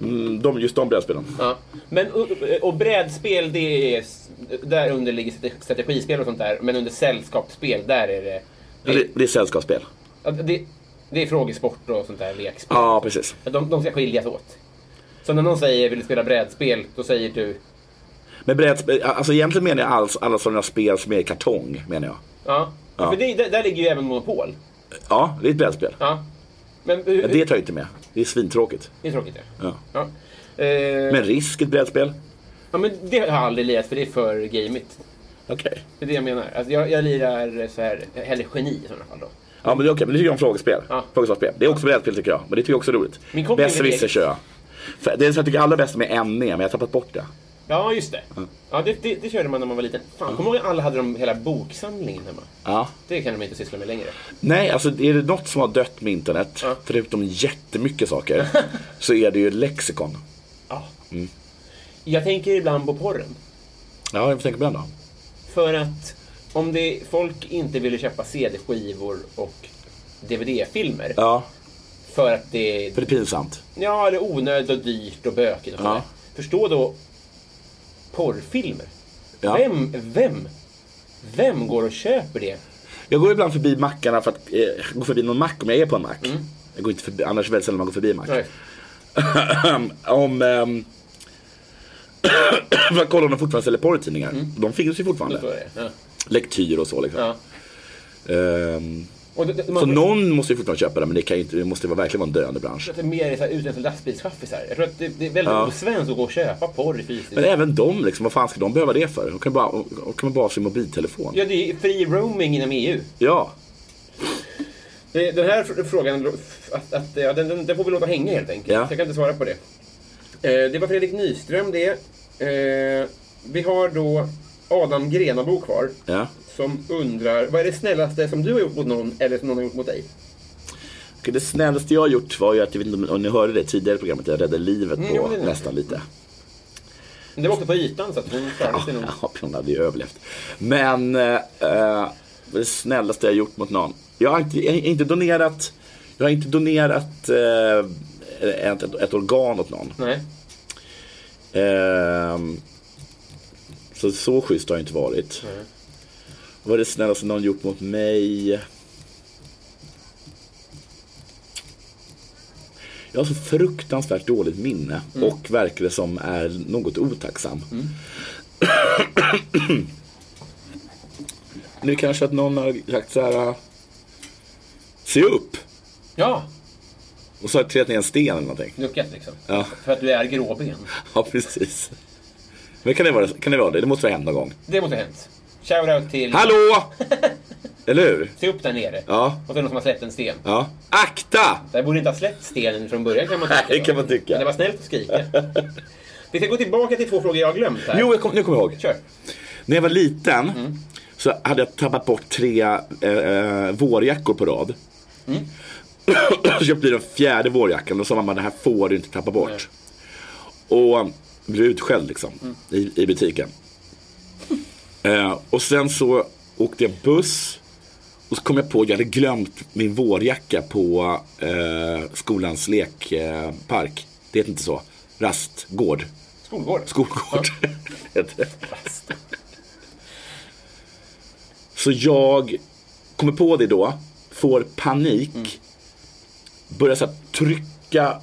S2: Mm, de, just de brädspelen.
S1: Ja. Men, och, och brädspel, det är, där under ligger strate- strategispel och sånt där. Men under sällskapsspel, där är det...
S2: Ja, Det, det är sällskapsspel.
S1: ja, det, det är frågesport och sånt där, lekspel.
S2: Ja, precis.
S1: De, de ska skiljas åt. Så när någon säger vill du spela brädspel, då säger du
S2: Men brädspel, alltså egentligen menar jag alls, alla sådana spel som är i kartong, menar jag.
S1: ja.
S2: Ja.
S1: För det, där, där ligger ju även Monopol.
S2: Ja, det är ett brädspel.
S1: Ja. Men
S2: Ja,
S1: hur,
S2: det tar jag inte med. Det är svintråkigt.
S1: det är tråkigt. Ja.
S2: Ja.
S1: Ja. Eh,
S2: Men risk ett brädspel?
S1: ja, men det har jag aldrig lirat för det är för gamigt.
S2: Okej.
S1: Det är det jag menar. Alltså, jag, jag lirar så här, hellre geni i sådana fall då.
S2: Ja, men det är okej. Men du tycker om frågespel.
S1: Ja.
S2: Frågesvarsspel. Det är också brädspel tycker jag. Men det tycker jag också är roligt.
S1: Min kompis-
S2: Besserwisser kör jag. För Det som jag tycker allra bäst med NE, men jag E, har tappat bort det.
S1: Ja, just det. Ja, det, det, det körde man när man var liten. Fan, kommer du ihåg att alla hade de hela boksamlingen hemma?
S2: Ja.
S1: Det kan de inte syssla med längre.
S2: Nej, alltså är det något som har dött med internet, förutom jättemycket saker, så är det ju lexikon.
S1: Ja. Jag tänker ibland på porren.
S2: Ja, jag tänker på den då.
S1: För att om det, folk inte ville köpa CD-skivor och DVD-filmer
S2: Ja,
S1: för att det,
S2: för det är pinsamt.
S1: ja, det är onödigt och dyrt och bökigt och
S2: Ja.
S1: sådär. Förstå då porrfilmer.
S2: Ja.
S1: Vem, vem, vem går och köper det?
S2: Jag går ibland förbi mackarna för att eh, gå förbi någon mack om jag är på en mack. Jag går inte förbi, annars är det väldigt sällan man går förbi en mack.
S1: Mm. Nej.
S2: om... ehm, för att kolla om de fortfarande säljer porrtidningar. De finns ju
S1: Så är
S2: fortfarande.
S1: Mm. det. Ja.
S2: Lektyr och så liksom.
S1: Ja.
S2: Ehm,
S1: Och det, det,
S2: så
S1: man,
S2: någon måste ju fortfarande köpa det men det, kan ju inte, det måste ju vara verkligen vara en döende bransch.
S1: att det är mer så här utländska lastbilschaffisar. Jag tror att det, det är väldigt osvenskt att gå och köpa porr fysiskt.
S2: Men även de liksom, vad fan ska de behöva det för? De kan, bara, de kan bara ha sin mobiltelefon.
S1: Ja, det är fri roaming inom E EU.
S2: Ja.
S1: Det- Den här fr- frågan att, att, ja, den, den, den får vi låta hänga helt enkelt.
S2: Ja.
S1: Jag kan inte svara på det. Eh, det var Fredrik Nyström det. Eh, vi har då Adam Grenabo kvar.
S2: Ja.
S1: Som undrar, vad är det snällaste som du har gjort mot någon eller som någon har gjort mot dig?
S2: Okej, Det snällaste jag har gjort var ju att, jag vet inte om ni hörde det tidigare i programmet, jag räddade livet
S1: Mm,
S2: på
S1: jo, det är det.
S2: nästan lite.
S1: Men Det var också på ytan så att hon klarade sig nog.
S2: Ja, hon hade ju överlevt. Men eh, eh, det snällaste jag gjort mot någon. Jag har inte, jag har inte donerat, jag har inte donerat eh, ett, ett, ett organ åt någon.
S1: Nej.
S2: Ehm, så, så schysst har jag inte varit. Vad är det snällaste någon gjort mot mig? Jag har så fruktansvärt dåligt minne och verkar det som är något otacksam. nu kanske att någon har sagt så här. äh, Se upp!
S1: Ja,
S2: Och så har jag trillat ner en sten eller någonting.
S1: duckat liksom.
S2: Ja.
S1: För att du är gråben.
S2: Ja, precis. Men kan det vara kan det? Vara det? det måste ha hänt någon gång.
S1: Det måste ha hänt. Shoutout till...
S2: Hallå! Eller hur?
S1: Se upp där nere.
S2: Ja.
S1: Och så är det någon som har släppt en sten.
S2: Ja. Akta!
S1: Där borde inte ha släppt stenen från början kan man tycka.
S2: Nej, det kan man tycka.
S1: Men det var snällt att skrika. Vi ska gå tillbaka till två frågor jag har glömt här.
S2: Jo, jag kom, nu kommer jag ihåg.
S1: Kör.
S2: När jag var liten så hade jag tappat bort tre eh, eh, vårjackor på rad. så jag blir den fjärde vårjackan och sa mamma det här får du inte tappa bort. Och blev utskälld liksom i, i butiken. Eh, och sen så åkte jag buss och så kom jag på att jag hade glömt min vårjacka på eh, skolans lekpark. Eh, park. det heter inte så. Rastgård.
S1: Skolgård.
S2: Skolgård. heter det. Så jag kommer på det då, får panik, börjar så här trycka,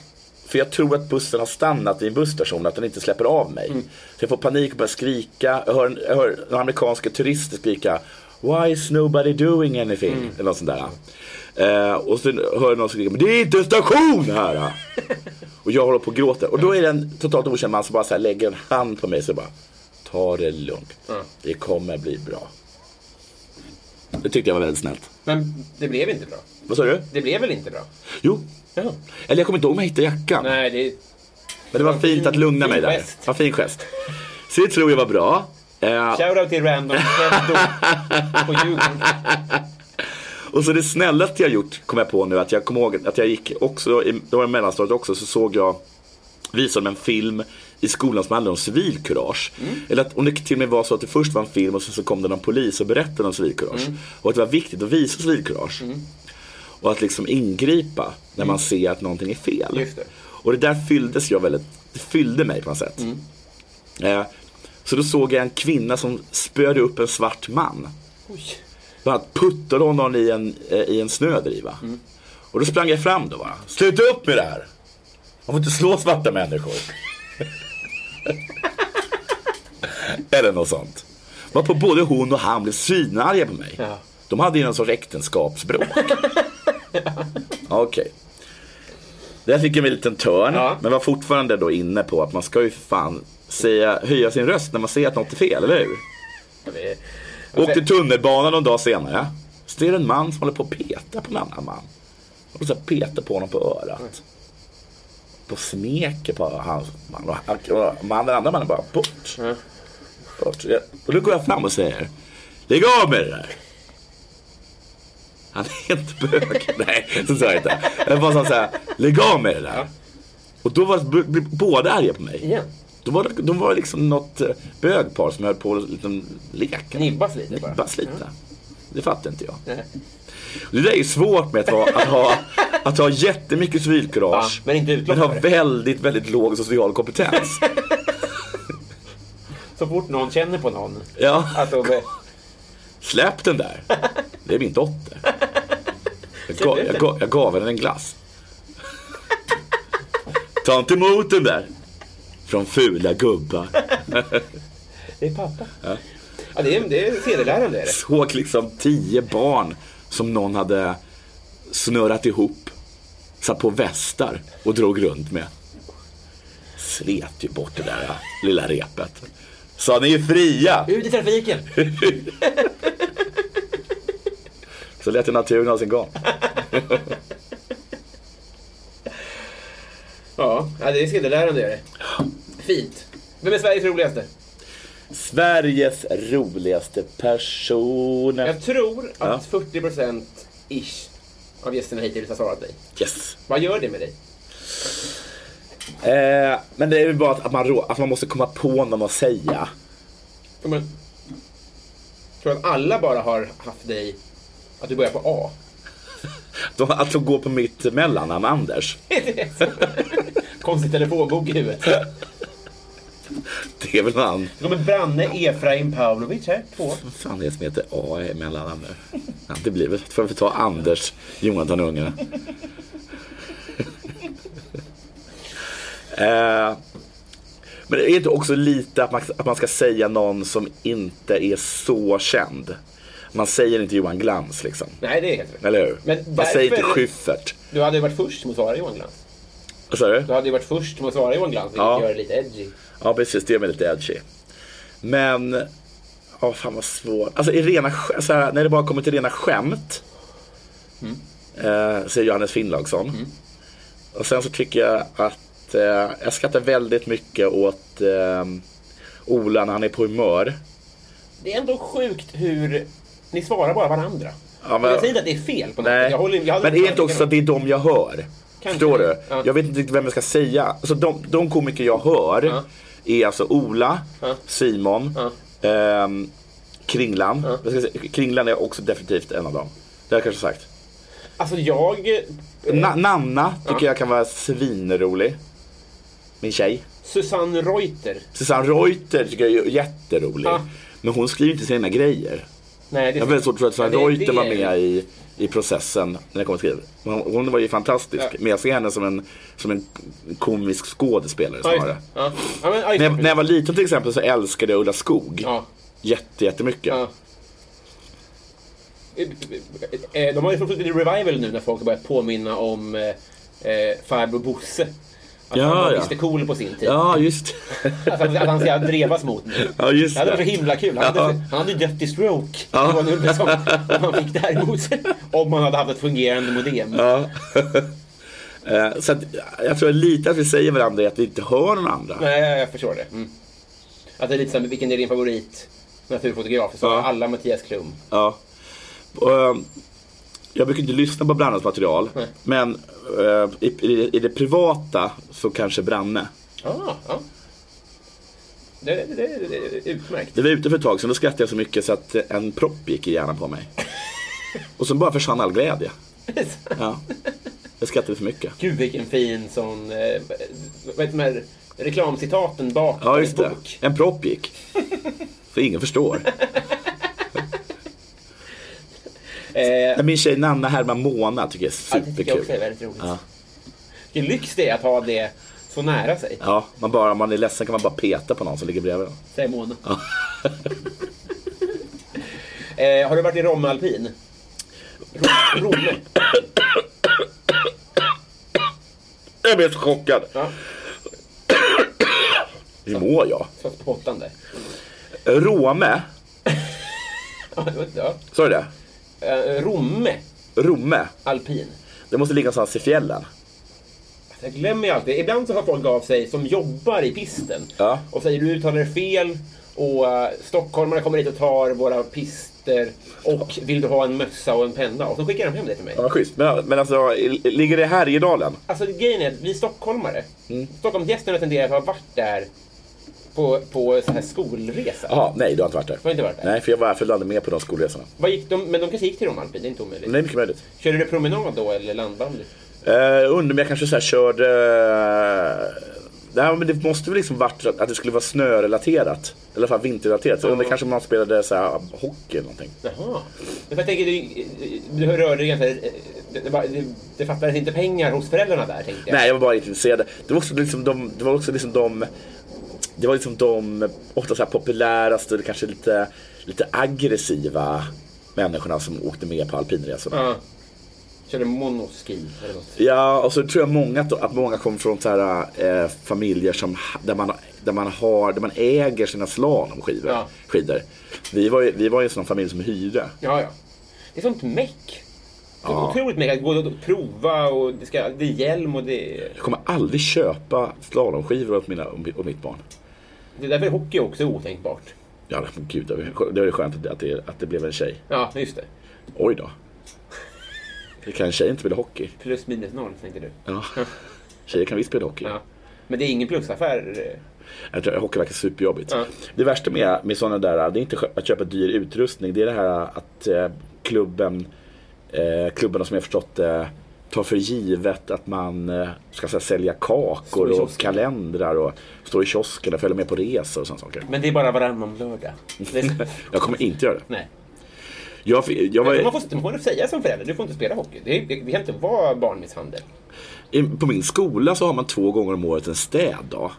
S2: för jag tror att bussen har stannat i en busstation, att den inte släpper av mig. Så jag får panik och börjar skrika, jag hör, en- jag hör några amerikanska turister skrika Why is nobody doing anything? Eller något sånt där. Eh, och sen hör jag någon skrika, men det är inte en station här! Och jag håller på och gråter. Och då är det en totalt okänd man som bara så här lägger en hand på mig och så bara Ta det lugnt. Det kommer bli bra. Det tyckte jag var väldigt snällt.
S1: Men det blev inte bra.
S2: Vad sa du?
S1: Det blev väl inte bra?
S2: Jo.
S1: Ja.
S2: Eller jag kommer inte ihåg om jag hittade jackan.
S1: Nej, det...
S2: Men det var fint att lugna
S1: Fin
S2: mig där.
S1: gest.
S2: Ja, fin gest. Så det tror jag var bra. Eh,
S1: Shoutout till random Freddo på Djurgården.
S2: och så det snällaste jag gjort kom jag på nu att jag kommer ihåg att jag gick också, i, det var i mellanstadiet också, så såg jag visade en film i skolan som handlade om civilkurage.
S1: Mm.
S2: Eller att, om det till och med var så att det först var en film och sen så kom det någon polis och berättade om civilkurage.
S1: Mm.
S2: Och att det var viktigt att visa civilkurage. Och att liksom ingripa när man ser att någonting är fel.
S1: Mm. Just det.
S2: Och det där fylldes jag väldigt, det fyllde mig på något sätt.
S1: Mm.
S2: Eh, så då såg jag en kvinna som spöade upp en svart man.
S1: Oj.
S2: Bland annat puttade hon honom i en, eh, i en snödriva.
S1: Mm.
S2: Och då sprang jag fram då bara. Sluta upp med det här! Man får inte slå svarta människor. Eller något sånt. Var på både hon och han blev svinarga på mig.
S1: Ja.
S2: De hade ju någon sorts äktenskapsbråk. Okej. Där fick jag mig en liten törn.
S1: Ja.
S2: Men var fortfarande då inne på att man ska ju för fan säga, höja sin röst när man ser att något är fel, eller hur?
S1: Det-
S2: Åkte tunnelbanan någon dag senare. Så det är en man som håller på att peta på en annan man. Och så här petar på honom på örat. på smeket på hans man. Och han, och man den andra mannen bara bort. bort. Jag, och då går jag fram och säger Lägg av med det där. Han är inte bög. Nej, så sa jag inte. Jag bara sa så här, lägg av med det där. Och då var b- b- båda arga på mig.
S1: Ja.
S2: Då var, det- de var liksom något eh, bögpar som höll på och liksom leka.
S1: Nibbas lite bara.
S2: Nibbas lite. Det fattar inte jag. Det där är ju svårt med att ha, att ha, att ha jättemycket civilkurage.
S1: Ja, men inte utlopp
S2: Men ha
S1: för det.
S2: väldigt, väldigt låg social kompetens.
S1: Så fort någon känner på någon.
S2: Ja.
S1: Att de, eh,
S2: Släpp den där. Det är min dotter. Jag gav, jag gav, jag gav henne en glass. Ta inte emot den där. Från fula gubbar.
S1: det är pappa. Ja. det är, det är sedelärande är det.
S2: Såg liksom tio barn som någon hade snurrat ihop. Satt på västar och drog runt med. Slet ju bort det där lilla repet. Sa ni är fria.
S1: Ut i trafiken!
S2: Så lät ju naturen ha sin gång.
S1: Ja, ja det är sedelärande är det. Fint. Vem är Sveriges roligaste?
S2: Sveriges roligaste personer.
S1: Jag tror att 40% ish av gästerna hittills har svarat dig.
S2: Yes.
S1: Vad gör det med dig?
S2: Eh, men det är ju bara att, att, man, rå- att man måste komma på någon att säga.
S1: Tror man- Tror att alla bara har haft dig, att du börjar på A?
S2: De, att de går på mitt mellannamn Anders.
S1: Konstig telefonbok i huvudet.
S2: Det är väl han.
S1: Det kommer Branne Efraim Pavlovic här, två.
S2: Vad fan är det som heter A i mellannamn nu? Ja, det blir väl. Får jag väl ta Anders Jonathan Unge. eh, men det är inte också lite att man, att man ska säga någon som inte är så känd. Man säger inte Johan Glans liksom.
S1: Nej, det är helt rätt.
S2: Eller hur?
S1: Men
S2: man säger inte
S1: därför-
S2: Schyffert.
S1: Du hade ju varit först med att svara Johan Glans.
S2: Vad sa du?
S1: Du hade ju varit först med att svara Johan Glans, vilket
S2: Ja.
S1: gör det lite edgy.
S2: Ja, precis. Det är väl lite edgy. Men, ja fan vad svårt. Alltså i rena, sk- så här, när det bara kommer till rena skämt. Eh, säger Johannes Finnlaugsson. Och sen så tycker jag att eh, jag skrattar väldigt mycket åt eh, Ola när han är på humör.
S1: Det är ändå sjukt hur ni svarar bara varandra.
S2: men-
S1: Och Jag säger inte att det är fel på något
S2: Nej.
S1: sätt. Jag håller, jag hade-
S2: men är det inte också att det är de jag hör?
S1: Kanske.
S2: Förstår du?
S1: Ja.
S2: Jag vet inte riktigt vem jag ska säga. Alltså de, de komiker jag hör
S1: Ja.
S2: är alltså Ola, Simon, ehm, Kringlan. Jag ska säga, Kringlan är också definitivt en av dem. Det har jag kanske sagt.
S1: Alltså jag...
S2: Na, Nanna tycker jag kan vara svinrolig. Min tjej.
S1: Susanne Reuter.
S2: Susanne Reuter tycker jag är jätterolig.
S1: Ja.
S2: Men hon skriver inte sina grejer.
S1: Nej, det
S2: Jag har väldigt svårt att tro att Susanne
S1: Ja, det-
S2: Reuter
S1: det
S2: var
S1: är-
S2: med i, i processen när jag kom och skrev. Hon, hon var ju fantastisk.
S1: Ja.
S2: Men jag ser henne som en, som en komisk skådespelare
S1: Ja, just
S2: snarare.
S1: det. Ja. Ja, men, ja, just
S2: När
S1: det.
S2: jag, när jag var liten till exempel så älskade jag Ulla Skog.
S1: Ja.
S2: Jätte, jättemycket.
S1: Ja. Eh, De har ju fått lite revival nu när folk har börjat påminna om eh, eh, farbror Bosse. Att
S2: Ja,
S1: han var
S2: ja.
S1: Mr Cool på sin tid.
S2: Ja, just
S1: Alltså, att, att han ska drevas mot nu.
S2: Ja, just
S1: det hade varit så
S2: det.
S1: himla kul. Han hade,
S2: Ja.
S1: han hade ju dött i stroke. Det var nu liksom, om han fick det här emot sig. Om han hade haft ett fungerande modem.
S2: ja. Eh, så att, jag tror lite att vi säger varandra är att vi inte hör någon andra.
S1: Nej, jag, jag förstår det. Mm. Att det är lite som, vilken är din favorit naturfotograf? Så
S2: Ja.
S1: alla Mattias Klum.
S2: Ja. Och, ehm, jag brukar inte lyssna på Brannes material. Men eh, i, i, i det privata så kanske Branne.
S1: Ah, ja. Det, det, det, det är utmärkt.
S2: Det var ute för ett tag sedan, då skrattade jag så mycket så att en propp gick i hjärnan på mig. Och sen bara försvann all glädje. Ja. Jag skrattade för mycket.
S1: Gud vilken fin sån, eh, vad heter de här reklamcitaten bak på
S2: Ja,
S1: en
S2: just det.
S1: bok.
S2: En propp gick. Så ingen förstår.
S1: Eh,
S2: Nej, Min tjej Nanna Herman Mona tycker jag
S1: ja,
S2: är
S1: Eh, det tycker jag också är
S2: superkul.
S1: väldigt roligt. Vilken lyx det är att ha det så nära sig,
S2: Ja, man bara, om man är ledsen kan man bara peta på någon som ligger bredvid en.
S1: säger Mona. eh, har du varit i Romme alpin? Ro- Romme?
S2: Jag blev så chockad.
S1: Ja,
S2: Hur mår jag?
S1: satt på pottan där.
S2: Råme,
S1: Ja, det var- ja.
S2: sa du det?
S1: Eh, Romme
S2: Romme.
S1: alpin.
S2: Det måste ligga någonstans i fjällen.
S1: Jag glömmer ju alltid. Ibland så hör folk av sig som jobbar i pisten.
S2: Ja.
S1: Och säger du uttalar det fel. Och eh, stockholmarna kommer hit och tar våra pister. Och vill du ha en mössa och en penna? Och så skickar de hem det till mig.
S2: Ja, schysst. Men, men alltså, i- ligger det här i dalen?
S1: Alltså grejen är att vi stockholmare.
S2: Mm.
S1: Stockholmsgästerna tenderar att ha varit där på, på så här skolresa.
S2: Jaha, nej, du har inte varit där.
S1: har inte varit där.
S2: Nej, för jag var följde aldrig med på de skolresorna.
S1: Vad gick de, men de kanske gick till Romalpid, det är inte omöjligt.
S2: Men det är mycket möjligt.
S1: Körde du promenad då eller landbandy?
S2: Uh, undrar om jag kanske så här körde... eh, nej, men det måste väl liksom varit att att det skulle vara snörelaterat. Eller i alla fall vinterrelaterat. Så jag undrar kanske om man spelade så här, hockey eller någonting.
S1: Jaha. Men för jag tänker, du, du rörde dig ganska... Det, det, var- det, det fattades inte pengar hos föräldrarna där, tänkte jag.
S2: Nej, jag var bara inte intresserad. Det var också liksom de... Det var också liksom de det var liksom de ofta så här populäraste, kanske lite, lite aggressiva människorna som åkte med på alpinresorna.
S1: Ja. Körde monoski eller något.
S2: Ja, och så tror jag många att, att många kommer från så här, eh, familjer som, ha- där, man, där, man har, där man äger sina slalomskidor.
S1: Ja.
S2: Skidor. Vi var ju, vi var ju en sån familj som hyrde.
S1: Ja, ja. Det är sånt meck. Det är otroligt meck att gå och prova och det, ska, det är hjälm och det är...
S2: Jag kommer aldrig köpa slalomskivor åt mina och mitt barn.
S1: Det är därför hockey också är otänkbart.
S2: Ja, men gud, det var- det var ju skönt att det, att, det, att det blev en tjej.
S1: Ja, just det.
S2: Oj då. Det kan en tjej inte spela hockey.
S1: Plus minus noll, tänkte du.
S2: Ja. Tjejer kan visst spela hockey.
S1: Ja. Men det är ingen plusaffär. eh.
S2: Jag tror- Hockey verkar superjobbigt.
S1: Ja.
S2: Det värsta med, med sådana där, det är inte att köpa dyr utrustning. Det är det här att eh, klubben, eh, klubbarna som jag förstått eh, tar för givet att man eh, ska så här, sälja
S1: Står i
S2: kakor och
S1: kiosken.
S2: kalendrar och stå i kiosken och följa med på resor och sådana saker.
S1: Men det är bara varannan lördag. Det är...
S2: Jag kommer inte göra det.
S1: Nej.
S2: Jag, jag
S1: Men Man
S2: var,
S1: får, man får säga som förälder, du får inte spela hockey. Det, det, det kan inte vara barnmisshandel.
S2: i, på min skola så har man två gånger om året en städdag.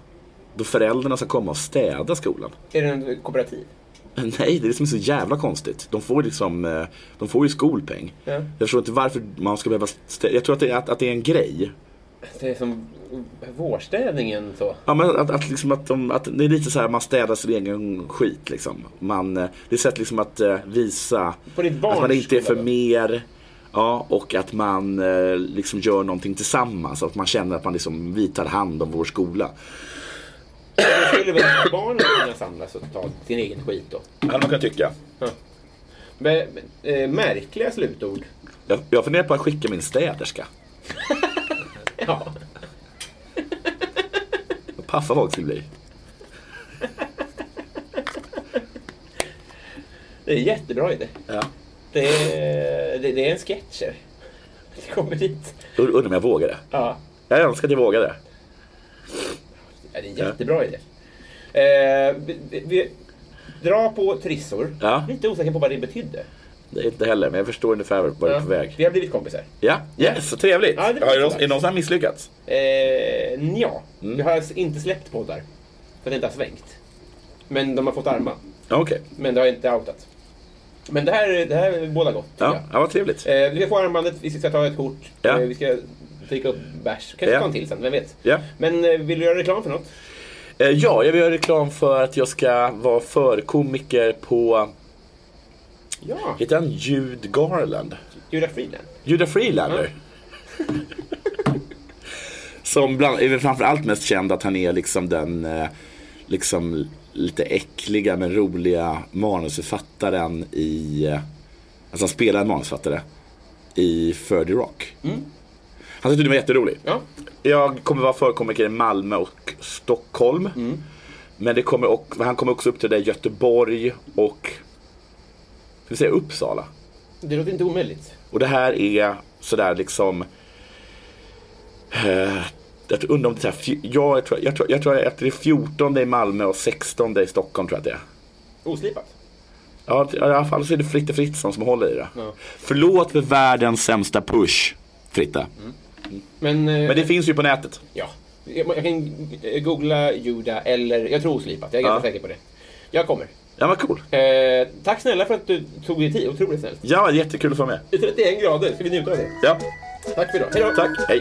S2: Då föräldrarna ska komma och städa skolan.
S1: Är det en kooperativ?
S2: Nej, det är det som är så jävla konstigt. De får, ju liksom, eh, de får ju skolpeng.
S1: Ja.
S2: Jag förstår inte varför man ska behöva... Stä- jag tror att det, är, att, att det är en grej.
S1: Det är som vårstädningen så.
S2: Ja, men att, att, liksom att, de, att det är lite så här, man städar sin egen skit liksom. Man, eh, det är ett sätt liksom att eh, visa
S1: På ditt barns
S2: att man inte är för
S1: skola, då?
S2: mer. Ja, och att man eh, liksom gör någonting tillsammans. Att man känner att man liksom, vi tar hand om vår skola.
S1: Då skulle väl barnen kunna samlas och ta sin egen skit då.
S2: Hade man kan tycka.
S1: Men, men, eh, märkliga slutord.
S2: Jag, jag funderar på att skicka min städerska.
S1: Ja.
S2: Vad paffa folk skulle bli.
S1: Det är en jättebra idé.
S2: Ja.
S1: Det är, det, det är en sketcher. Det kommer dit.
S2: Und- Undrar om jag vågar det.
S1: Ja.
S2: Jag önskar att jag vågade.
S1: Ja, det är en jättebra idé. Eh, vi, vi, vi dra på trissor.
S2: Ja.
S1: Lite osäker på vad det betydde.
S2: Det är inte heller, men jag förstår ungefär vart du är på väg.
S1: Vi har blivit kompisar.
S2: Ja, yes, så trevligt.
S1: Ja, det
S2: Har
S1: är
S2: jag-
S1: bra.
S2: är det någon som har misslyckats?
S1: Eh, nja.
S2: Mm.
S1: Vi har alltså inte släppt poddar. För det inte har svängt. Men de har fått arma.
S2: Ja, Okej.
S1: Men det har inte outat. Men det här, det här båda gott, tycker
S2: Ja, ja, vad trevligt.
S1: jag. Eh, vi ska få armbandet, vi ska ta ett kort,
S2: Ja.
S1: eh, vi ska dricka upp bärs. Kanske
S2: Ja.
S1: ta en till sen, vem vet?
S2: Ja.
S1: Men eh, vill du göra reklam för något?
S2: Eh, Ja, jag vill göra reklam för att jag ska vara förkomiker på,
S1: Ja,
S2: heter han Jude Garland?
S1: Julia Friedland.
S2: Judah Freelander. Som bland, är väl framförallt mest känd att han är liksom den eh, liksom lite äckliga men roliga manusförfattaren i eh, Alltså han spelar en manusförfattare i 30 Rock. Han tyckte det var jätterolig.
S1: Ja.
S2: Jag kommer vara förkomiker i Malmö och Stockholm. Men det kommer och, han kommer också upp till det i Göteborg och ska vi säga Uppsala.
S1: Det låter inte omöjligt.
S2: Och det här är sådär liksom... Eh, jag undrar om det är så här, fj- jag, tror, jag, tror, jag tror att det är 14 i Malmö och 16 i Stockholm tror jag att det är.
S1: Oslipat.
S2: Ja, t- i alla fall så är det Fritte Fritzson som håller i det. Förlåt för världens sämsta push, Fritte.
S1: Men, eh,
S2: Men det finns ju på nätet.
S1: ja. Jag, jag kan eh, googla Juda eller, jag tror oslipat, jag är ganska
S2: Ja.
S1: säker på det. Jag kommer.
S2: Ja, vad cool.
S1: Eh, tack snälla för att du tog dig tid, otroligt snällt.
S2: Ja, jättekul att få vara med.
S1: I 31 grader, ska vi njuta av det?
S2: Ja,
S1: Tack för idag, hejdå!
S2: tack. Hej.